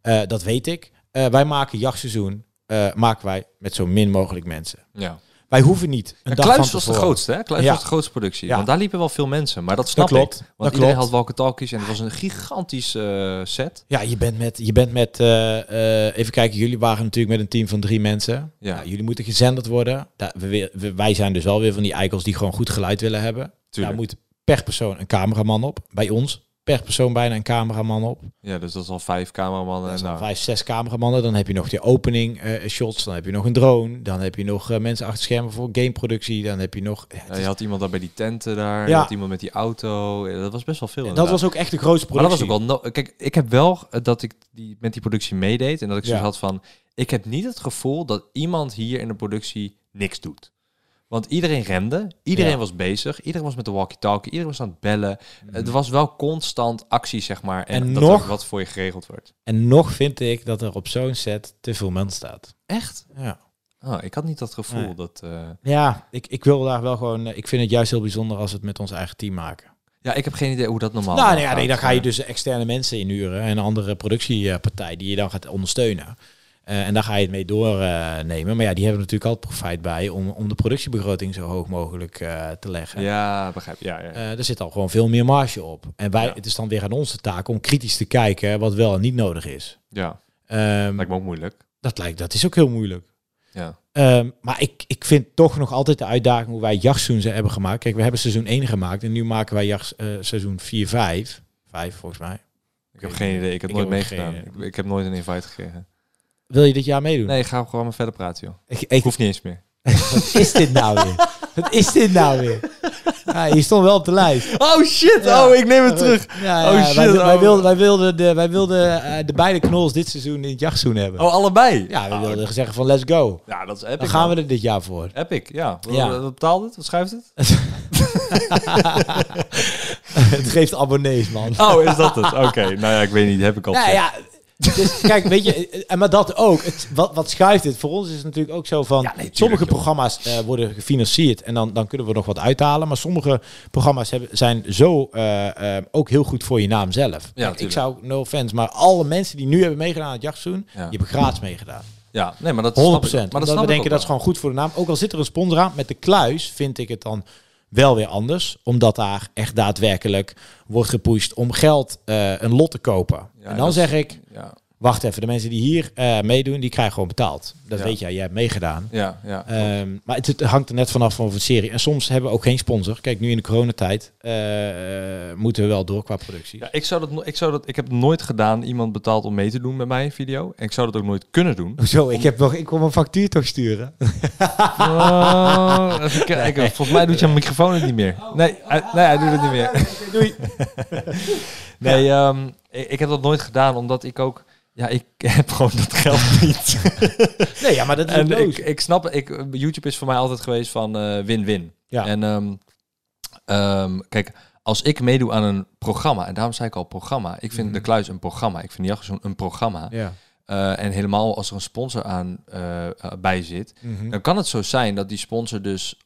[SPEAKER 2] Eh, dat weet ik. Eh, wij maken jachtseizoen eh, maken wij met zo min mogelijk mensen.
[SPEAKER 1] Ja.
[SPEAKER 2] Wij hoeven niet een
[SPEAKER 1] En
[SPEAKER 2] dag
[SPEAKER 1] Kluis
[SPEAKER 2] van
[SPEAKER 1] was de
[SPEAKER 2] tevoren.
[SPEAKER 1] grootste, hè? Kluis
[SPEAKER 2] Ja.
[SPEAKER 1] was de grootste productie.
[SPEAKER 2] Ja.
[SPEAKER 1] Want daar liepen wel veel mensen, maar dat snap
[SPEAKER 2] klopt,
[SPEAKER 1] ik. Want
[SPEAKER 2] dat
[SPEAKER 1] iedereen
[SPEAKER 2] klopt.
[SPEAKER 1] had walkie-talkies en het was een gigantisch eh, set.
[SPEAKER 2] Ja, je bent met, je bent met eh, eh, even kijken, jullie waren natuurlijk met een team van drie mensen.
[SPEAKER 1] Ja.
[SPEAKER 2] Nou, jullie moeten gezenderd worden. Daar, we, weer- we- wij zijn dus wel weer van die eikels die gewoon goed geluid willen hebben.
[SPEAKER 1] Tuurlijk.
[SPEAKER 2] Daar moet per persoon een cameraman op. Bij ons per persoon bijna een cameraman op.
[SPEAKER 1] Ja, dus dat is al vijf cameramannen.
[SPEAKER 2] Dat
[SPEAKER 1] en
[SPEAKER 2] zijn
[SPEAKER 1] nou,
[SPEAKER 2] Vijf, zes cameramannen. Dan heb je nog die opening eh, shots. Dan heb je nog een drone. Dan heb je nog eh, mensen achter schermen voor gameproductie. Dan heb je nog... ja, het
[SPEAKER 1] ja,
[SPEAKER 2] is-
[SPEAKER 1] eh, je had iemand daar bij die tenten daar, je
[SPEAKER 2] Ja.
[SPEAKER 1] had iemand met die auto. Ja, Dat was best wel veel.
[SPEAKER 2] dat
[SPEAKER 1] inderdaad.
[SPEAKER 2] was ook echt de grootste
[SPEAKER 1] Maar dat was
[SPEAKER 2] productie.
[SPEAKER 1] ook wel... no- Kijk, ik heb wel eh, dat ik die, met die productie meedeed en dat ik zoiets
[SPEAKER 2] Ja.
[SPEAKER 1] had van... Ik heb niet het gevoel dat iemand hier in de productie niks doet. Want iedereen rende, iedereen
[SPEAKER 2] Ja. Mhm.
[SPEAKER 1] was bezig, iedereen was met de walkie-talkie, iedereen was aan het bellen. Er was wel constant actie, zeg maar. En,
[SPEAKER 2] En
[SPEAKER 1] dat
[SPEAKER 2] nog-
[SPEAKER 1] er wat voor je geregeld wordt.
[SPEAKER 2] En nog vind ik dat er op zo'n set te veel man staat.
[SPEAKER 1] Echt?
[SPEAKER 2] Ja.
[SPEAKER 1] Oh, ik had niet dat gevoel
[SPEAKER 2] Nee.
[SPEAKER 1] dat... eh,
[SPEAKER 2] Ja, ik, ik wil daar wel gewoon. eh, Ik vind het juist heel bijzonder als we het met ons eigen team maken.
[SPEAKER 1] Ja, ik heb geen idee hoe dat normaal
[SPEAKER 2] nou, nee, ja,
[SPEAKER 1] gaat,
[SPEAKER 2] nee, dan ga je
[SPEAKER 1] maar-
[SPEAKER 2] dus externe mensen inhuren en een andere productiepartij die je dan gaat ondersteunen. Eh, en daar ga je het mee doornemen. maar ja, die hebben er natuurlijk altijd profijt bij om, om de productiebegroting zo hoog mogelijk eh, te leggen.
[SPEAKER 1] Ja, begrijp. Ja, ja.
[SPEAKER 2] Eh, er zit al gewoon veel meer marge op. En wij, het is dan weer aan onze taak om kritisch te kijken wat wel en niet nodig is.
[SPEAKER 1] ja.
[SPEAKER 2] Ehm,
[SPEAKER 1] Lijkt me ook moeilijk.
[SPEAKER 2] dat, lijkt, dat is ook heel moeilijk.
[SPEAKER 1] Ja.
[SPEAKER 2] Ehm, maar ik, ik vind toch nog altijd de uitdaging hoe wij jachtseizoen hebben gemaakt. Kijk, we hebben seizoen 1 gemaakt en nu maken wij jacht, eh, seizoen 4, 5. 5 volgens mij.
[SPEAKER 1] Ik heb geen idee. Ik heb
[SPEAKER 2] Ik
[SPEAKER 1] nooit
[SPEAKER 2] heb ook
[SPEAKER 1] meegedaan.
[SPEAKER 2] geen
[SPEAKER 1] Ik,
[SPEAKER 2] idee.
[SPEAKER 1] ik heb nooit een invite gekregen.
[SPEAKER 2] Wil je dit jaar meedoen?
[SPEAKER 1] Nee, ga gewoon maar verder praten, joh.
[SPEAKER 2] Ik,
[SPEAKER 1] Ik
[SPEAKER 2] ik,
[SPEAKER 1] hoef niet eens meer.
[SPEAKER 2] wat is dit nou weer? Wat is dit nou weer? Ja, je stond wel op de lijst.
[SPEAKER 1] Oh shit!
[SPEAKER 2] Ja.
[SPEAKER 1] Oh, ik neem het terug.
[SPEAKER 2] Ja,
[SPEAKER 1] Oh,
[SPEAKER 2] ja,
[SPEAKER 1] shit,
[SPEAKER 2] Wij, wij
[SPEAKER 1] oh.
[SPEAKER 2] wilden, wij wilden, de, wij wilden eh, de beide knols dit seizoen in het jachtseizoen hebben.
[SPEAKER 1] Oh, allebei?
[SPEAKER 2] Ja, we
[SPEAKER 1] Oh,
[SPEAKER 2] wilden zeggen van let's go.
[SPEAKER 1] ja dat is
[SPEAKER 2] Dan
[SPEAKER 1] epic.
[SPEAKER 2] gaan we er dit jaar voor.
[SPEAKER 1] Epic, ja. Wat,
[SPEAKER 2] Ja.
[SPEAKER 1] wat betaalt het? Wat schuift het?
[SPEAKER 2] het geeft abonnees, man.
[SPEAKER 1] Oh, is dat het? Oké, nou ja, ik weet niet. Heb ik al
[SPEAKER 2] Nou
[SPEAKER 1] gezegd.
[SPEAKER 2] ja, dus, kijk, weet je, eh, en maar dat ook. Het, wat, wat schuift het? Voor ons is het natuurlijk ook zo van, sommige programma's eh, worden gefinancierd en dan, dan kunnen we nog wat uithalen. Maar sommige programma's hebben, zijn zo eh, eh, ook heel goed voor je naam zelf. Kijk, ik
[SPEAKER 1] tuurlijk.
[SPEAKER 2] zou, no offense, maar alle mensen die nu hebben meegedaan aan het jachtseizoen,
[SPEAKER 1] Ja.
[SPEAKER 2] die hebben gratis meegedaan. 100%.
[SPEAKER 1] Ja, nee, maar dat snap ik.
[SPEAKER 2] Maar
[SPEAKER 1] Maar dat
[SPEAKER 2] we
[SPEAKER 1] snap ik
[SPEAKER 2] denken
[SPEAKER 1] ook
[SPEAKER 2] dat is
[SPEAKER 1] wel.
[SPEAKER 2] gewoon goed voor de naam. Ook al zit er een sponsor aan, met de kluis vind ik het dan wel weer anders. Omdat daar echt daadwerkelijk wordt gepusht om geld eh, een lot te kopen.
[SPEAKER 1] Ja,
[SPEAKER 2] en dan
[SPEAKER 1] dat is-
[SPEAKER 2] zeg ik,
[SPEAKER 1] Ja,
[SPEAKER 2] Wacht even, de mensen die hier eh, meedoen, die krijgen gewoon betaald. Dat
[SPEAKER 1] Ja.
[SPEAKER 2] weet jij, jij hebt meegedaan.
[SPEAKER 1] ja, ja.
[SPEAKER 2] Ehm, maar het, het hangt er net vanaf van een serie. En soms hebben we ook geen sponsor. Kijk, nu in de coronatijd eh, moeten we wel door qua productie.
[SPEAKER 1] Ja, ik, zou dat, no- ik, zou dat, ik heb nooit gedaan iemand betaalt om mee te doen met mij in video. En ik zou dat ook nooit kunnen doen.
[SPEAKER 2] Hoezo? Ik, heb nog, ik kon een factuur toch sturen?
[SPEAKER 1] Oh, even kijken. Volgens mij doet je microfoon het niet meer.
[SPEAKER 2] Oh.
[SPEAKER 1] Nee, hij, nee, hij doet het niet meer.
[SPEAKER 2] Doei.
[SPEAKER 1] Nee, ehm, ik, ik heb dat nooit gedaan omdat ik ook... Ja, ik heb gewoon dat geld niet.
[SPEAKER 2] Nee, ja, maar dat is
[SPEAKER 1] En
[SPEAKER 2] een
[SPEAKER 1] ik, ik snap, ik, YouTube is voor mij altijd geweest van eh, win-win.
[SPEAKER 2] Ja.
[SPEAKER 1] En ehm, ehm, kijk, als ik meedoe aan een programma, en daarom zei ik al programma, ik vind De Kluis een programma, ik vind Jachtseizoen een programma.
[SPEAKER 2] Mhm. Ja.
[SPEAKER 1] Eh, en helemaal als er een sponsor aan eh, eh, bij zit,
[SPEAKER 2] Mhm.
[SPEAKER 1] dan kan het zo zijn dat die sponsor dus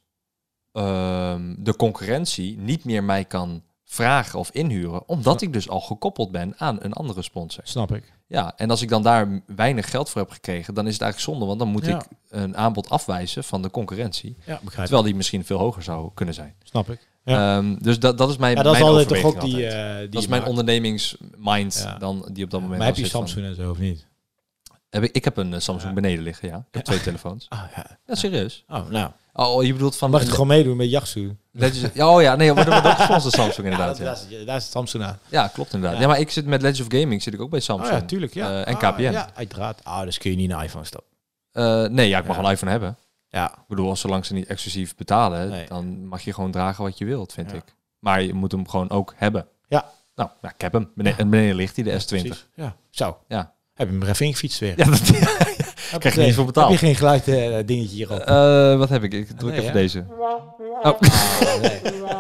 [SPEAKER 1] ehm, de concurrentie niet meer mij kan vragen of inhuren, omdat ik dus al gekoppeld ben aan een andere sponsor.
[SPEAKER 2] Snap ik.
[SPEAKER 1] Ja, en als ik dan daar weinig geld voor heb gekregen, dan is het eigenlijk zonde, want dan moet
[SPEAKER 2] Ja.
[SPEAKER 1] ik een aanbod afwijzen van de concurrentie.
[SPEAKER 2] Ja, begrijp
[SPEAKER 1] Terwijl die misschien veel hoger zou kunnen zijn.
[SPEAKER 2] Snap ik. Ja,
[SPEAKER 1] Ehm, dus dat, dat is mijn.
[SPEAKER 2] ja dat is
[SPEAKER 1] mijn
[SPEAKER 2] altijd toch ook
[SPEAKER 1] overweging
[SPEAKER 2] die...
[SPEAKER 1] altijd.
[SPEAKER 2] eh, die
[SPEAKER 1] dat is
[SPEAKER 2] je
[SPEAKER 1] mijn
[SPEAKER 2] maakt.
[SPEAKER 1] ondernemingsmind
[SPEAKER 2] Ja.
[SPEAKER 1] dan, die op dat moment.
[SPEAKER 2] Maar heb je
[SPEAKER 1] al zit van-
[SPEAKER 2] Samsung en zo of niet?
[SPEAKER 1] Heb ik, ik heb een eh, Samsung beneden liggen, ja. Ik heb twee telefoons.
[SPEAKER 2] Ah, ja.
[SPEAKER 1] Ja, serieus.
[SPEAKER 2] Oh, nou.
[SPEAKER 1] Oh, je bedoelt van.
[SPEAKER 2] Mag het gewoon meedoen met Yachtsoe?
[SPEAKER 1] Legends- ja, oh ja, nee, maar dat dat is onze Samsung inderdaad.
[SPEAKER 2] daar,
[SPEAKER 1] Nou, Ja,
[SPEAKER 2] is, daar is Samsung aan.
[SPEAKER 1] ja klopt inderdaad. Ja.
[SPEAKER 2] Ja.
[SPEAKER 1] maar ik zit met Legends of Gaming zit ik ook bij Samsung.
[SPEAKER 2] Ah ja, tuurlijk. Ja.
[SPEAKER 1] Eh, en
[SPEAKER 2] Ah,
[SPEAKER 1] KPN.
[SPEAKER 2] ja, uiteraard. Ah, dus kun je niet een iPhone stappen.
[SPEAKER 1] Eh, nee, ja, ik mag
[SPEAKER 2] Ja.
[SPEAKER 1] een iPhone hebben.
[SPEAKER 2] Ja.
[SPEAKER 1] Ik bedoel, als zolang ze niet exclusief betalen,
[SPEAKER 2] Nee.
[SPEAKER 1] dan mag je gewoon dragen wat je wilt, vind
[SPEAKER 2] Ja.
[SPEAKER 1] ik. Maar je moet hem gewoon ook hebben.
[SPEAKER 2] Ja.
[SPEAKER 1] Nou, ja, ik heb hem. Bene- en beneden ligt hij, de S20.
[SPEAKER 2] Precies. Ja. Zo.
[SPEAKER 1] Ja.
[SPEAKER 2] Heb je hem er even ingefietst weer.
[SPEAKER 1] Ja, dat,
[SPEAKER 2] Heb
[SPEAKER 1] krijg je niet voor betaald.
[SPEAKER 2] Heb je geen geluid eh, dingetje hierop?
[SPEAKER 1] Eh, wat heb ik? Ik druk
[SPEAKER 2] Nee,
[SPEAKER 1] even
[SPEAKER 2] hè?
[SPEAKER 1] deze. Oh.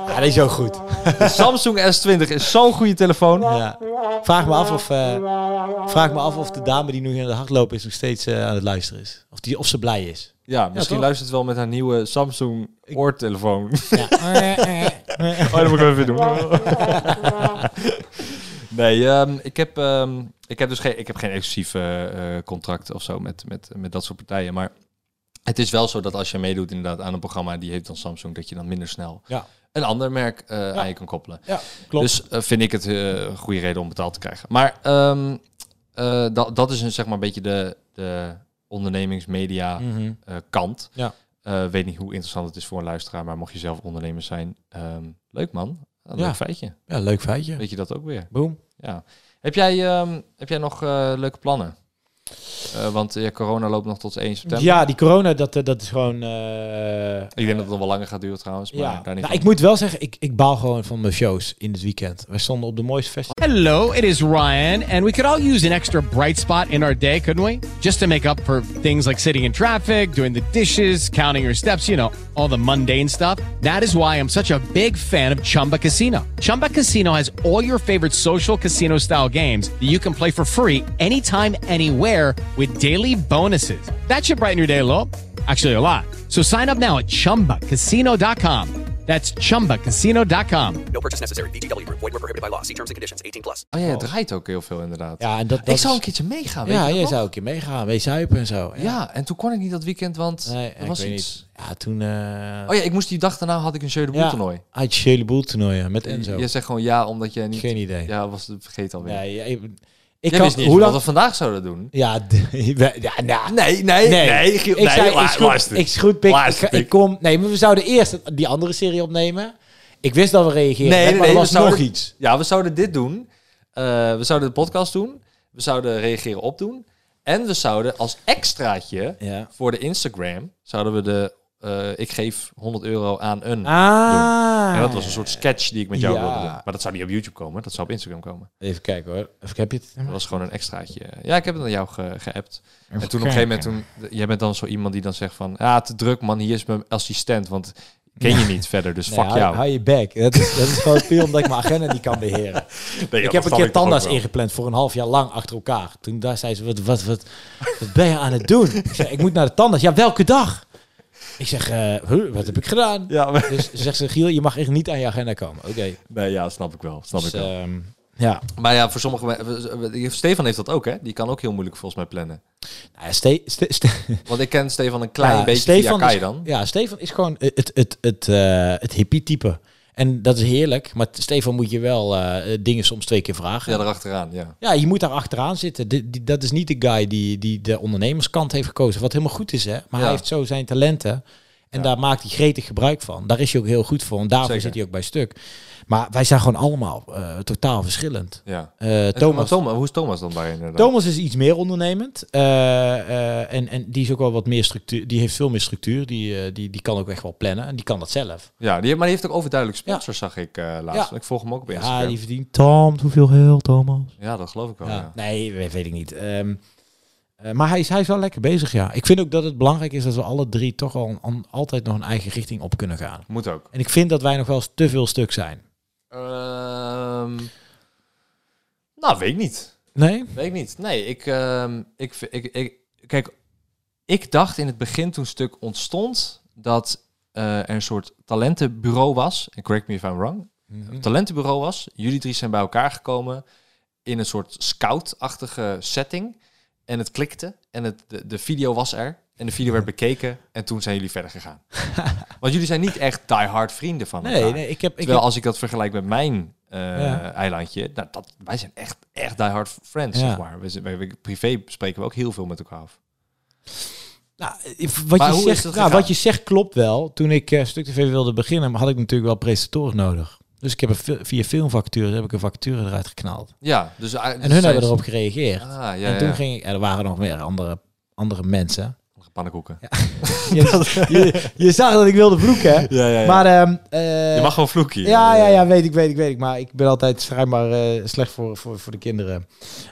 [SPEAKER 2] ja, die is ook goed.
[SPEAKER 1] De Samsung S20 is zo'n goede telefoon.
[SPEAKER 2] Ja. Vraag, me af of, eh, vraag me af of de dame die nu in de hardloop is nog steeds eh, aan het luisteren is. Of, die, of ze blij is.
[SPEAKER 1] Ja, misschien
[SPEAKER 2] toch?
[SPEAKER 1] luistert ze wel met haar nieuwe Samsung oortelefoon.
[SPEAKER 2] Ja.
[SPEAKER 1] Oh, dat moet ik even doen. nee, ehm, ik, heb, ehm, ik heb dus geen, ik heb geen exclusief eh, eh, contract of zo met, met, met dat soort partijen. Maar het is wel zo dat als je meedoet inderdaad aan een programma, die heeft dan Samsung, dat je dan minder snel
[SPEAKER 2] Ja.
[SPEAKER 1] een ander merk eh, aan je kan koppelen.
[SPEAKER 2] ja, klopt.
[SPEAKER 1] Dus eh, vind ik het eh, een goede reden om betaald te krijgen. Maar ehm, eh, dat, dat is een, zeg maar een beetje de, de ondernemingsmedia
[SPEAKER 2] Mhm.
[SPEAKER 1] eh, kant.
[SPEAKER 2] Ja.
[SPEAKER 1] Eh, weet niet hoe interessant het is voor een luisteraar, maar mocht je zelf ondernemer zijn, ehm, leuk man. Een
[SPEAKER 2] Ja.
[SPEAKER 1] leuk feitje.
[SPEAKER 2] ja, leuk feitje.
[SPEAKER 1] Weet je dat ook weer?
[SPEAKER 2] Boom.
[SPEAKER 1] Ja. Heb jij, ehm, heb jij nog eh, leuke plannen? Eh, want ja, corona loopt nog tot 1 september.
[SPEAKER 2] Ja, die corona, dat, eh, dat is gewoon... eh,
[SPEAKER 1] Ik denk dat het nog wel langer gaat duren trouwens. Maar
[SPEAKER 2] ja.
[SPEAKER 1] daar niet
[SPEAKER 2] Nou,
[SPEAKER 1] van.
[SPEAKER 2] ik moet wel zeggen, ik, ik baal gewoon van mijn shows in het weekend. Wij stonden op de mooiste
[SPEAKER 1] Oh,
[SPEAKER 2] festivals.
[SPEAKER 5] Hello, it is Ryan, and we could all use an extra bright spot in our day, couldn't we? Just to make up for things like sitting in traffic, doing the dishes, counting your steps, you know, all the mundane stuff. That is why I'm such a big fan of Chumba Casino. Chumba Casino has all your favorite social casino style games that you can play for free anytime, anywhere with daily bonuses. That should brighten your day a little. Actually, a lot. So sign up now at chumbacasino.com. That's chumbacasino.com.
[SPEAKER 6] No purchase necessary. VGW Group. Void where prohibited by law. See terms and conditions. 18 plus.
[SPEAKER 1] Oh ja, het draait ook heel veel inderdaad.
[SPEAKER 2] Ja, en dat, dat
[SPEAKER 1] ik zou
[SPEAKER 2] is-
[SPEAKER 1] een keertje meegaan. weet
[SPEAKER 2] Ja,
[SPEAKER 1] je
[SPEAKER 2] jij
[SPEAKER 1] nog?
[SPEAKER 2] zou een keer meegaan, mee zuipen en zo.
[SPEAKER 1] Ja. en toen kon ik niet dat weekend, want
[SPEAKER 2] Nee,
[SPEAKER 1] er
[SPEAKER 2] ik
[SPEAKER 1] was
[SPEAKER 2] weet
[SPEAKER 1] iets.
[SPEAKER 2] niet. Ja, toen... eh,
[SPEAKER 1] Oh ja, ik moest die dag daarna had ik een Jeu de Boel
[SPEAKER 2] ja,
[SPEAKER 1] toernooi.
[SPEAKER 2] Uit je hele boel toernooien met Enzo.
[SPEAKER 1] Jij zegt gewoon ja, omdat jij niet...
[SPEAKER 2] Geen idee.
[SPEAKER 1] Ja, was, vergeet alweer.
[SPEAKER 2] Nee, ja, ik,
[SPEAKER 1] ik
[SPEAKER 2] ik kan,
[SPEAKER 1] wist niet
[SPEAKER 2] hoe
[SPEAKER 1] eens wat we
[SPEAKER 2] lang...
[SPEAKER 1] vandaag zouden doen.
[SPEAKER 2] Ja, we- ja, nou,
[SPEAKER 1] Nee, nee, nee. Giel,
[SPEAKER 2] ik zei,
[SPEAKER 1] la-
[SPEAKER 2] ik
[SPEAKER 1] luister.
[SPEAKER 2] schroep, ik schroep pik, ik,
[SPEAKER 1] Luister,
[SPEAKER 2] ga- ik
[SPEAKER 1] pik.
[SPEAKER 2] kom... Nee, maar we zouden eerst die andere serie opnemen. Ik wist dat we reageerden,
[SPEAKER 1] Nee, nee,
[SPEAKER 2] maar
[SPEAKER 1] nee,
[SPEAKER 2] er
[SPEAKER 1] we
[SPEAKER 2] was nog
[SPEAKER 1] zouden-
[SPEAKER 2] iets.
[SPEAKER 1] Ja, we zouden dit doen. Eh, we zouden de podcast doen. We zouden reageren op doen. En we zouden als extraatje
[SPEAKER 2] Ja.
[SPEAKER 1] voor de Instagram... zouden we de... eh, ik geef 100 euro aan een...
[SPEAKER 2] Ah.
[SPEAKER 1] En dat was een soort sketch die ik met jou
[SPEAKER 2] Ja.
[SPEAKER 1] wilde doen. Maar dat zou niet op YouTube komen. Dat zou op Instagram komen.
[SPEAKER 2] Even kijken hoor. Even, heb je het?
[SPEAKER 1] Dat was gewoon een extraatje. Ja, ik heb het aan jou ge- geappt. en toen op een gegeven moment... Toen, jij bent dan zo iemand die dan zegt van... Ja, te druk man. Hier is mijn assistent. Want ken je niet verder. Dus
[SPEAKER 2] Nee,
[SPEAKER 1] fuck
[SPEAKER 2] hou,
[SPEAKER 1] jou.
[SPEAKER 2] hou je bek. Dat is, dat is gewoon puur omdat ik mijn agenda niet kan beheren.
[SPEAKER 1] Nee, ja,
[SPEAKER 2] ik
[SPEAKER 1] dat
[SPEAKER 2] heb
[SPEAKER 1] snap
[SPEAKER 2] een keer
[SPEAKER 1] toch ook
[SPEAKER 2] tandarts
[SPEAKER 1] wel.
[SPEAKER 2] ingepland voor een half jaar lang achter elkaar. Toen daar zei ze, wat, wat, wat, wat ben je aan het doen? Ik zei, ik moet naar de tandarts. Ja, welke dag? Ik zeg, eh, huh, wat heb ik gedaan?
[SPEAKER 1] Ja, maar-
[SPEAKER 2] Dus ze zegt ze, Giel, je mag echt niet aan je agenda komen. Oké.
[SPEAKER 1] Nee, ja, snap ik wel. Snap
[SPEAKER 2] Dus,
[SPEAKER 1] ik wel.
[SPEAKER 2] ehm, ja,
[SPEAKER 1] Maar ja, voor sommige mensen... Stefan heeft dat ook, hè? Die kan ook heel moeilijk volgens mij plannen.
[SPEAKER 2] nou, ja, Ste- Ste- Ste-
[SPEAKER 1] Want ik ken Stefan een klein
[SPEAKER 2] Ja,
[SPEAKER 1] beetje
[SPEAKER 2] Stefan
[SPEAKER 1] via Kai
[SPEAKER 2] is-
[SPEAKER 1] dan.
[SPEAKER 2] Ja, Stefan is gewoon het, het, het, het, eh, het hippie-type. En dat is heerlijk. Maar Stefan moet je wel eh, dingen soms twee keer vragen.
[SPEAKER 1] Ja, daarachteraan, ja.
[SPEAKER 2] Ja, je moet daar achteraan zitten. Die, die- dat is niet de guy die, die de ondernemerskant heeft gekozen. Wat helemaal goed is, hè. Maar
[SPEAKER 1] Ja.
[SPEAKER 2] hij heeft zo zijn talenten. En daar maakt hij gretig gebruik van. Daar is hij ook heel goed voor. En daarvoor
[SPEAKER 1] Zeker.
[SPEAKER 2] zit hij ook bij stuk. Maar wij zijn gewoon allemaal eh, totaal verschillend.
[SPEAKER 1] ja.
[SPEAKER 2] Eh,
[SPEAKER 1] En Thomas.
[SPEAKER 2] Thomas,
[SPEAKER 1] hoe is Thomas dan daarin? eh, dan?
[SPEAKER 2] Thomas is iets meer ondernemend. Eh, eh, en, en die is ook wel wat meer structuur. Die heeft veel meer structuur. Die, eh, die, die kan ook echt wel plannen. En die kan dat zelf.
[SPEAKER 1] Ja, die, heeft- maar die heeft ook overduidelijk sponsors, zag ik eh, laatst.
[SPEAKER 2] Ja.
[SPEAKER 1] Ik volg hem ook op Instagram.
[SPEAKER 2] Ja,
[SPEAKER 1] Ja,
[SPEAKER 2] Ah, die verdient. Tom, hoeveel geld, Thomas?
[SPEAKER 1] dat geloof ik wel,
[SPEAKER 2] Oh, Ja.
[SPEAKER 1] ja.
[SPEAKER 2] Nee, we- weet ik niet. Ehm, eh, maar hij is, hij is wel lekker bezig, ja. Ik vind ook dat het belangrijk is dat we alle drie toch al een- an- altijd nog een eigen richting op kunnen gaan.
[SPEAKER 1] Moet ook.
[SPEAKER 2] En ik vind dat wij nog wel eens te veel stuk zijn.
[SPEAKER 1] Ehm, nou, weet ik niet.
[SPEAKER 2] Nee?
[SPEAKER 1] Weet ik niet. Nee, ik, ehm, ik, v- ik, ik... Kijk, ik dacht in het begin toen het stuk ontstond... dat eh, er een soort talentenbureau was. En correct me if I'm wrong.
[SPEAKER 2] Mhm.
[SPEAKER 1] Een talentenbureau was. Jullie drie zijn bij elkaar gekomen in een soort scout-achtige setting. En het klikte en het, de, de video was er. En de video werd
[SPEAKER 2] Mhm.
[SPEAKER 1] bekeken en toen zijn jullie verder gegaan. Want jullie zijn niet echt die-hard vrienden van elkaar.
[SPEAKER 2] Nee, nee, ik heb... Ik
[SPEAKER 1] Terwijl
[SPEAKER 2] heb-
[SPEAKER 1] als ik dat vergelijk met mijn eh,
[SPEAKER 2] Ja.
[SPEAKER 1] eilandje, nou, dat, wij zijn echt, echt die-hard friends,
[SPEAKER 2] Ja.
[SPEAKER 1] zeg maar. We, zijn- we- we- privé spreken we ook heel veel met elkaar af.
[SPEAKER 2] Nou, ik- wat,
[SPEAKER 1] Maar
[SPEAKER 2] je
[SPEAKER 1] hoe is
[SPEAKER 2] zegt,
[SPEAKER 1] dat
[SPEAKER 2] nou,
[SPEAKER 1] gegaan?
[SPEAKER 2] wat je zegt klopt wel. Toen ik eh, Stuk TV wilde beginnen, had ik natuurlijk wel presentatoren nodig. Dus ik heb een fil- via filmvacturen heb ik een vacature eruit geknald.
[SPEAKER 1] Ja, dus... eh, dus
[SPEAKER 2] En hun
[SPEAKER 1] zij-
[SPEAKER 2] hebben erop gereageerd.
[SPEAKER 1] Ah, ja,
[SPEAKER 2] en toen
[SPEAKER 1] ja.
[SPEAKER 2] ging ik... En er waren nog meer andere, andere mensen.
[SPEAKER 1] Pannenkoeken.
[SPEAKER 2] Je, je, je zag dat ik wilde vloeken, hè?
[SPEAKER 1] Ja, ja, ja.
[SPEAKER 2] Maar ehm, eh,
[SPEAKER 1] Je mag gewoon vloeken. hier.
[SPEAKER 2] ja, ja, ja, weet ik, weet ik, weet ik. Maar ik ben altijd schijnbaar eh, slecht voor, voor, voor de kinderen.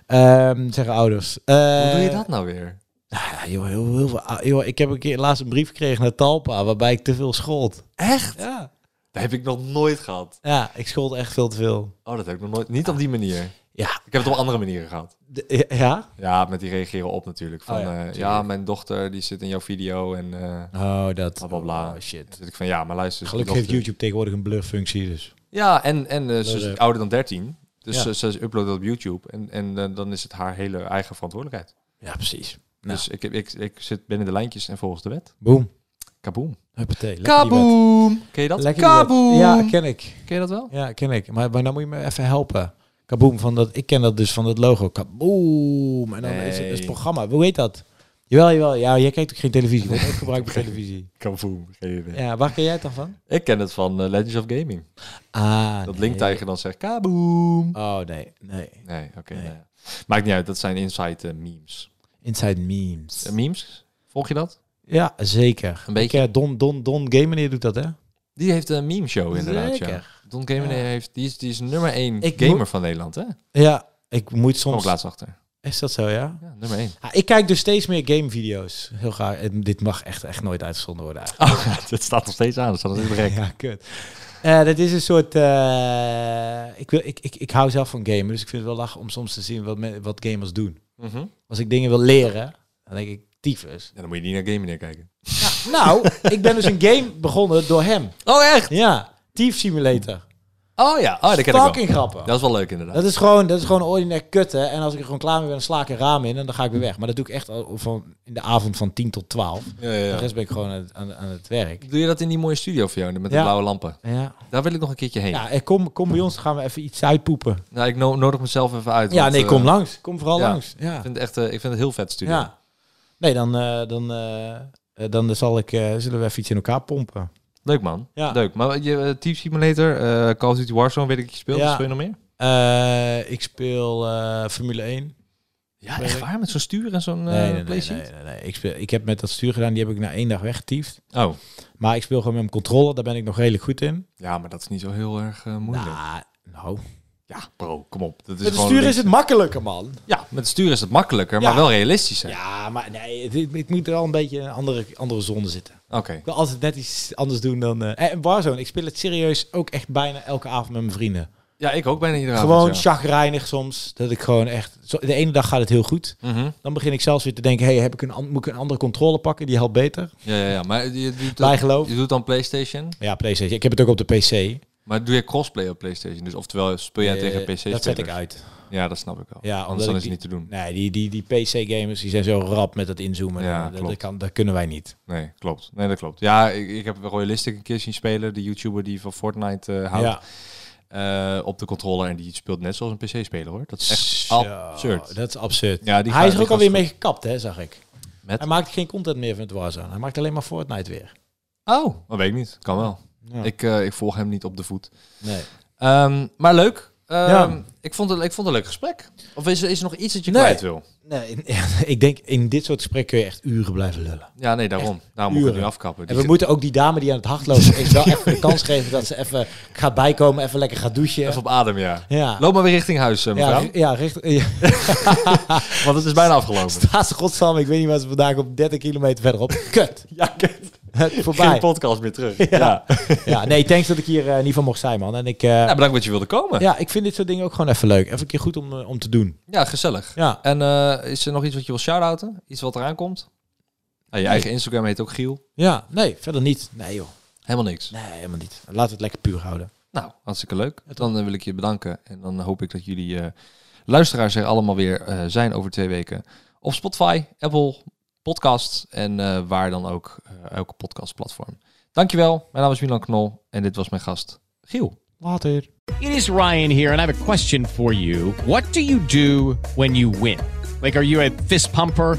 [SPEAKER 2] Ehm, zeggen ouders. Eh,
[SPEAKER 1] Hoe doe je dat nou weer?
[SPEAKER 2] Ja, joh, heel, heel veel, ou- joh, ik heb een keer laatst een brief gekregen naar Talpa, waarbij ik te veel schold.
[SPEAKER 1] Echt?
[SPEAKER 2] Ja.
[SPEAKER 1] Dat heb ik nog nooit gehad.
[SPEAKER 2] Ja, ik schold echt veel te veel.
[SPEAKER 1] Oh, dat heb ik nog nooit. Niet op die manier.
[SPEAKER 2] Ja.
[SPEAKER 1] Ik heb het op andere manieren gehad.
[SPEAKER 2] de- eh, ja?
[SPEAKER 1] Ja, met die reageren op natuurlijk. Van, eh,
[SPEAKER 2] Oh ja,
[SPEAKER 1] ja, ja,
[SPEAKER 2] tuurlijk.
[SPEAKER 1] mijn dochter die zit in jouw video en eh
[SPEAKER 2] Oh, dat.
[SPEAKER 1] bla bla bla.
[SPEAKER 2] Oh, shit.
[SPEAKER 1] Dan zit ik van, ja, maar luister.
[SPEAKER 2] Gelukkig
[SPEAKER 1] die
[SPEAKER 2] heeft
[SPEAKER 1] dochter-
[SPEAKER 2] YouTube tegenwoordig een blurfunctie, dus.
[SPEAKER 1] Ja, en, en eh, ze
[SPEAKER 2] Leuk,
[SPEAKER 1] is
[SPEAKER 2] leuk.
[SPEAKER 1] ouder dan 13. Dus
[SPEAKER 2] Ja.
[SPEAKER 1] ze, ze uploadt dat op YouTube. En, en eh, dan is het haar hele eigen verantwoordelijkheid.
[SPEAKER 2] Ja, precies. Nou.
[SPEAKER 1] Dus ik, heb- ik, ik zit binnen de lijntjes en volgens de wet.
[SPEAKER 2] Boom.
[SPEAKER 1] Kaboom.
[SPEAKER 2] Huppatee. lekker die wet.
[SPEAKER 1] Kaboom! Ken je dat?
[SPEAKER 2] Lekker die wet.
[SPEAKER 1] Kaboom!
[SPEAKER 2] Ja, ken ik.
[SPEAKER 1] Ken je dat wel?
[SPEAKER 2] Ja, ken ik. Maar, maar dan moet je me even helpen. Kaboom, van dat, ik ken dat dus van dat logo. Kaboom. En dan is het is het
[SPEAKER 1] Nee.
[SPEAKER 2] programma. Hoe heet dat? Jawel, jawel. Ja, jij kijkt ook geen televisie. Wordt ook gebruikt voor televisie.
[SPEAKER 1] Kaboom. Geen idee.
[SPEAKER 2] Ja, waar ken jij het dan van?
[SPEAKER 1] Ik ken het van eh, Legends of Gaming.
[SPEAKER 2] Ah,
[SPEAKER 1] Dat
[SPEAKER 2] nee.
[SPEAKER 1] Linktijger dan zegt kaboom.
[SPEAKER 2] Oh, nee, nee.
[SPEAKER 1] Nee, oké.
[SPEAKER 2] Nee.
[SPEAKER 1] nou ja. Maakt niet uit, dat zijn inside eh, memes.
[SPEAKER 2] Inside memes.
[SPEAKER 1] Eh, Memes, volg je dat?
[SPEAKER 2] Ja, zeker.
[SPEAKER 1] Een beetje.
[SPEAKER 2] Ik, eh, Don, Don, Don Gamer doet dat, hè?
[SPEAKER 1] Die heeft een meme show inderdaad, ja.
[SPEAKER 2] Zeker.
[SPEAKER 1] Don Gamer
[SPEAKER 2] Ja.
[SPEAKER 1] heeft, die, is, die is nummer 1
[SPEAKER 2] Ik
[SPEAKER 1] gamer
[SPEAKER 2] moet-
[SPEAKER 1] van Nederland, hè? Kom
[SPEAKER 2] Ja, ik moet
[SPEAKER 1] ik
[SPEAKER 2] soms...
[SPEAKER 1] laatst achter.
[SPEAKER 2] Is dat zo, ja?
[SPEAKER 1] Ja, nummer 1.
[SPEAKER 2] Ah, ik kijk dus steeds meer gamevideo's. Heel graag. En dit mag echt, echt nooit uitgezonden worden eigenlijk.
[SPEAKER 1] Oh, dat staat nog steeds aan, dat staat natuurlijk gek.
[SPEAKER 2] Ja, kut. Eh, dat is een soort... eh, ik, wil, ik, ik, ik hou zelf van gamen, dus ik vind het wel lachen om soms te zien wat, me- wat gamers doen.
[SPEAKER 1] Mhm.
[SPEAKER 2] Als ik dingen wil leren, dan denk ik, tyfus.
[SPEAKER 1] Ja, dan moet je niet naar Gamer kijken.
[SPEAKER 2] Nou, ik ben dus een game begonnen door hem.
[SPEAKER 1] Oh, echt?
[SPEAKER 2] Ja, Thief Simulator.
[SPEAKER 1] Oh ja, oh, dat ken ik wel.
[SPEAKER 2] Fucking grappig.
[SPEAKER 1] Dat is wel leuk inderdaad.
[SPEAKER 2] Dat is gewoon, dat is gewoon ordinair kutten. En als ik er gewoon klaar mee ben, dan sla ik een raam in en dan ga ik weer weg. Maar dat doe ik echt al van in de avond van 10 tot 12.
[SPEAKER 1] Ja, ja,
[SPEAKER 2] De
[SPEAKER 1] ja.
[SPEAKER 2] rest ben ik gewoon aan, het- aan, aan het werk.
[SPEAKER 1] Doe je dat in die mooie studio voor jou, met de
[SPEAKER 2] Ja.
[SPEAKER 1] blauwe lampen?
[SPEAKER 2] Ja,
[SPEAKER 1] Daar wil ik nog een keertje heen.
[SPEAKER 2] ja en kom, kom bij ons, dan gaan we even iets uitpoepen.
[SPEAKER 1] Nou, ik no- nodig mezelf even uit.
[SPEAKER 2] Ja,
[SPEAKER 1] want,
[SPEAKER 2] nee,
[SPEAKER 1] eh,
[SPEAKER 2] kom langs. Kom vooral
[SPEAKER 1] ja.
[SPEAKER 2] langs.
[SPEAKER 1] Ik
[SPEAKER 2] Ja.
[SPEAKER 1] vind het echt, eh, ik vind het een heel vet studio.
[SPEAKER 2] ja. Nee, dan, eh, dan, eh, eh, dan zal ik, eh, zullen we even iets in elkaar pompen.
[SPEAKER 1] Leuk man,
[SPEAKER 2] Ja.
[SPEAKER 1] leuk. Maar je eh, Team Simulator, eh, Call of Duty Warzone, weet ik, je speelt.
[SPEAKER 2] Ja.
[SPEAKER 1] Wat Speel je nog meer?
[SPEAKER 2] Eh, ik speel eh, Formule 1.
[SPEAKER 1] Ja, echt waar? Met zo'n stuur en zo'n eh
[SPEAKER 2] nee, nee, nee,
[SPEAKER 1] PlayStation?
[SPEAKER 2] nee, nee, nee. Ik, speel, ik heb met dat stuur gedaan, die heb ik na één dag weggetiefd.
[SPEAKER 1] Oh.
[SPEAKER 2] Maar ik speel gewoon met mijn controller, daar ben ik nog redelijk goed in.
[SPEAKER 1] Ja, maar dat is niet zo heel erg eh, moeilijk.
[SPEAKER 2] Nou, nou.
[SPEAKER 1] Ja, bro, kom op. Dat is
[SPEAKER 2] Met het
[SPEAKER 1] gewoon
[SPEAKER 2] stuur is
[SPEAKER 1] links-
[SPEAKER 2] het makkelijker, man.
[SPEAKER 1] Ja, met het stuur is het makkelijker,
[SPEAKER 2] Ja.
[SPEAKER 1] maar wel realistischer.
[SPEAKER 2] Ja, maar nee, het, het- het moet er al een beetje in een andere, andere zone zitten.
[SPEAKER 1] Oké.
[SPEAKER 2] Ik wil altijd net iets anders doen dan... eh, en Warzone, ik speel het serieus ook echt bijna elke avond met mijn vrienden.
[SPEAKER 1] Ja, ik ook bijna iedere
[SPEAKER 2] gewoon
[SPEAKER 1] avond, ja.
[SPEAKER 2] chagrijnig soms, dat ik gewoon echt... zo- de ene dag gaat het heel goed.
[SPEAKER 1] Mhm.
[SPEAKER 2] Dan begin ik zelfs weer te denken, hey, heb ik een, an- moet ik een andere controle pakken? Die helpt beter.
[SPEAKER 1] ja, ja, ja. Maar je doet,
[SPEAKER 2] Bijgeloof.
[SPEAKER 1] je doet dan PlayStation,
[SPEAKER 2] Ja, PlayStation. Ik heb het ook op de PC.
[SPEAKER 1] maar doe je crossplay op PlayStation? Dus oftewel speel jij tegen
[SPEAKER 2] Eh,
[SPEAKER 1] pc
[SPEAKER 2] Dat zet ik uit.
[SPEAKER 1] Ja, dat snap ik wel.
[SPEAKER 2] Ja,
[SPEAKER 1] Anders
[SPEAKER 2] omdat
[SPEAKER 1] dan
[SPEAKER 2] ik
[SPEAKER 1] is het
[SPEAKER 2] die-
[SPEAKER 1] niet te doen.
[SPEAKER 2] Nee, die, die, die PC-gamers die zijn zo rap met dat inzoomen.
[SPEAKER 1] Ja,
[SPEAKER 2] dat, dat,
[SPEAKER 1] klopt.
[SPEAKER 2] kan, dat kunnen wij niet.
[SPEAKER 1] Nee, klopt. Nee, dat klopt. Ja, ik, ik heb Royalistic een keer zien spelen. De YouTuber die van Fortnite eh, houdt.
[SPEAKER 2] Ja.
[SPEAKER 1] eh, op de controller. En die speelt net zoals een PC-speler, hoor. Dat is echt
[SPEAKER 2] Zo,
[SPEAKER 1] absurd.
[SPEAKER 2] Dat is absurd.
[SPEAKER 1] Ja, die
[SPEAKER 2] hij
[SPEAKER 1] gaat-
[SPEAKER 2] is er ook
[SPEAKER 1] die
[SPEAKER 2] alweer
[SPEAKER 1] gaat
[SPEAKER 2] mee gekapt, hè, zag ik.
[SPEAKER 1] Met?
[SPEAKER 2] Hij maakt geen content meer van het Warzone. Hij maakt alleen maar Fortnite weer.
[SPEAKER 1] Oh, dat weet ik niet. Kan wel.
[SPEAKER 2] Ja.
[SPEAKER 1] Ik, eh, ik volg hem niet op de voet.
[SPEAKER 2] Nee.
[SPEAKER 1] Ehm, maar leuk. Ehm,
[SPEAKER 2] Ja.
[SPEAKER 1] ik, vond het, ik vond het een leuk gesprek. Of is, er- is er nog iets dat je
[SPEAKER 2] Nee.
[SPEAKER 1] kwijt wil?
[SPEAKER 2] nee in- ik denk, in dit soort gesprekken kun je echt uren blijven lullen.
[SPEAKER 1] Ja, nee, daarom. Daarom moeten we
[SPEAKER 2] uren.
[SPEAKER 1] nu afkappen.
[SPEAKER 2] En
[SPEAKER 1] Die
[SPEAKER 2] we
[SPEAKER 1] zit-
[SPEAKER 2] moeten ook die dame die aan het hardlopen is wel even de kans geven dat ze even gaat bijkomen, even lekker gaat douchen.
[SPEAKER 1] Even op adem, ja.
[SPEAKER 2] Ja.
[SPEAKER 1] Loop maar weer richting huis, eh,
[SPEAKER 2] ja,
[SPEAKER 1] mevrouw.
[SPEAKER 2] ri- ja, richt, ja,
[SPEAKER 1] Want het is bijna afgelopen.
[SPEAKER 2] naast godsam, ik weet niet waar ze vandaag op 30 kilometer verderop. Kut,
[SPEAKER 1] Ja, kut. Geen
[SPEAKER 2] voorbij.
[SPEAKER 1] podcast meer terug. Ja.
[SPEAKER 2] Ja, nee, thanks dat ik hier eh, niet van mocht zijn, man. En ik, eh,
[SPEAKER 1] Ja, bedankt dat je wilde komen.
[SPEAKER 2] ja, ik vind dit soort dingen ook gewoon even leuk. Even een keer goed om, eh, om te doen.
[SPEAKER 1] Ja, gezellig.
[SPEAKER 2] Ja.
[SPEAKER 1] En eh, is er nog iets wat je wil shout-outen? Iets wat eraan komt? Nou, je eigen Instagram heet ook Giel.
[SPEAKER 2] Ja, nee, verder niet. Nee, joh.
[SPEAKER 1] Helemaal niks.
[SPEAKER 2] Nee, helemaal niet. Laat het lekker puur houden.
[SPEAKER 1] Nou, hartstikke leuk. Dan eh, wil ik je bedanken. En dan hoop ik dat jullie eh, luisteraars er allemaal weer eh, zijn over twee weken. Op Spotify, Apple Podcasts en eh, waar dan ook. eh, elke podcastplatform. Dankjewel. Mijn naam is Milan Knol en dit was mijn gast Giel.
[SPEAKER 2] Later.
[SPEAKER 5] It is Ryan here, and I have a question for you. What do you do when you win? Like, are you a fist pumper?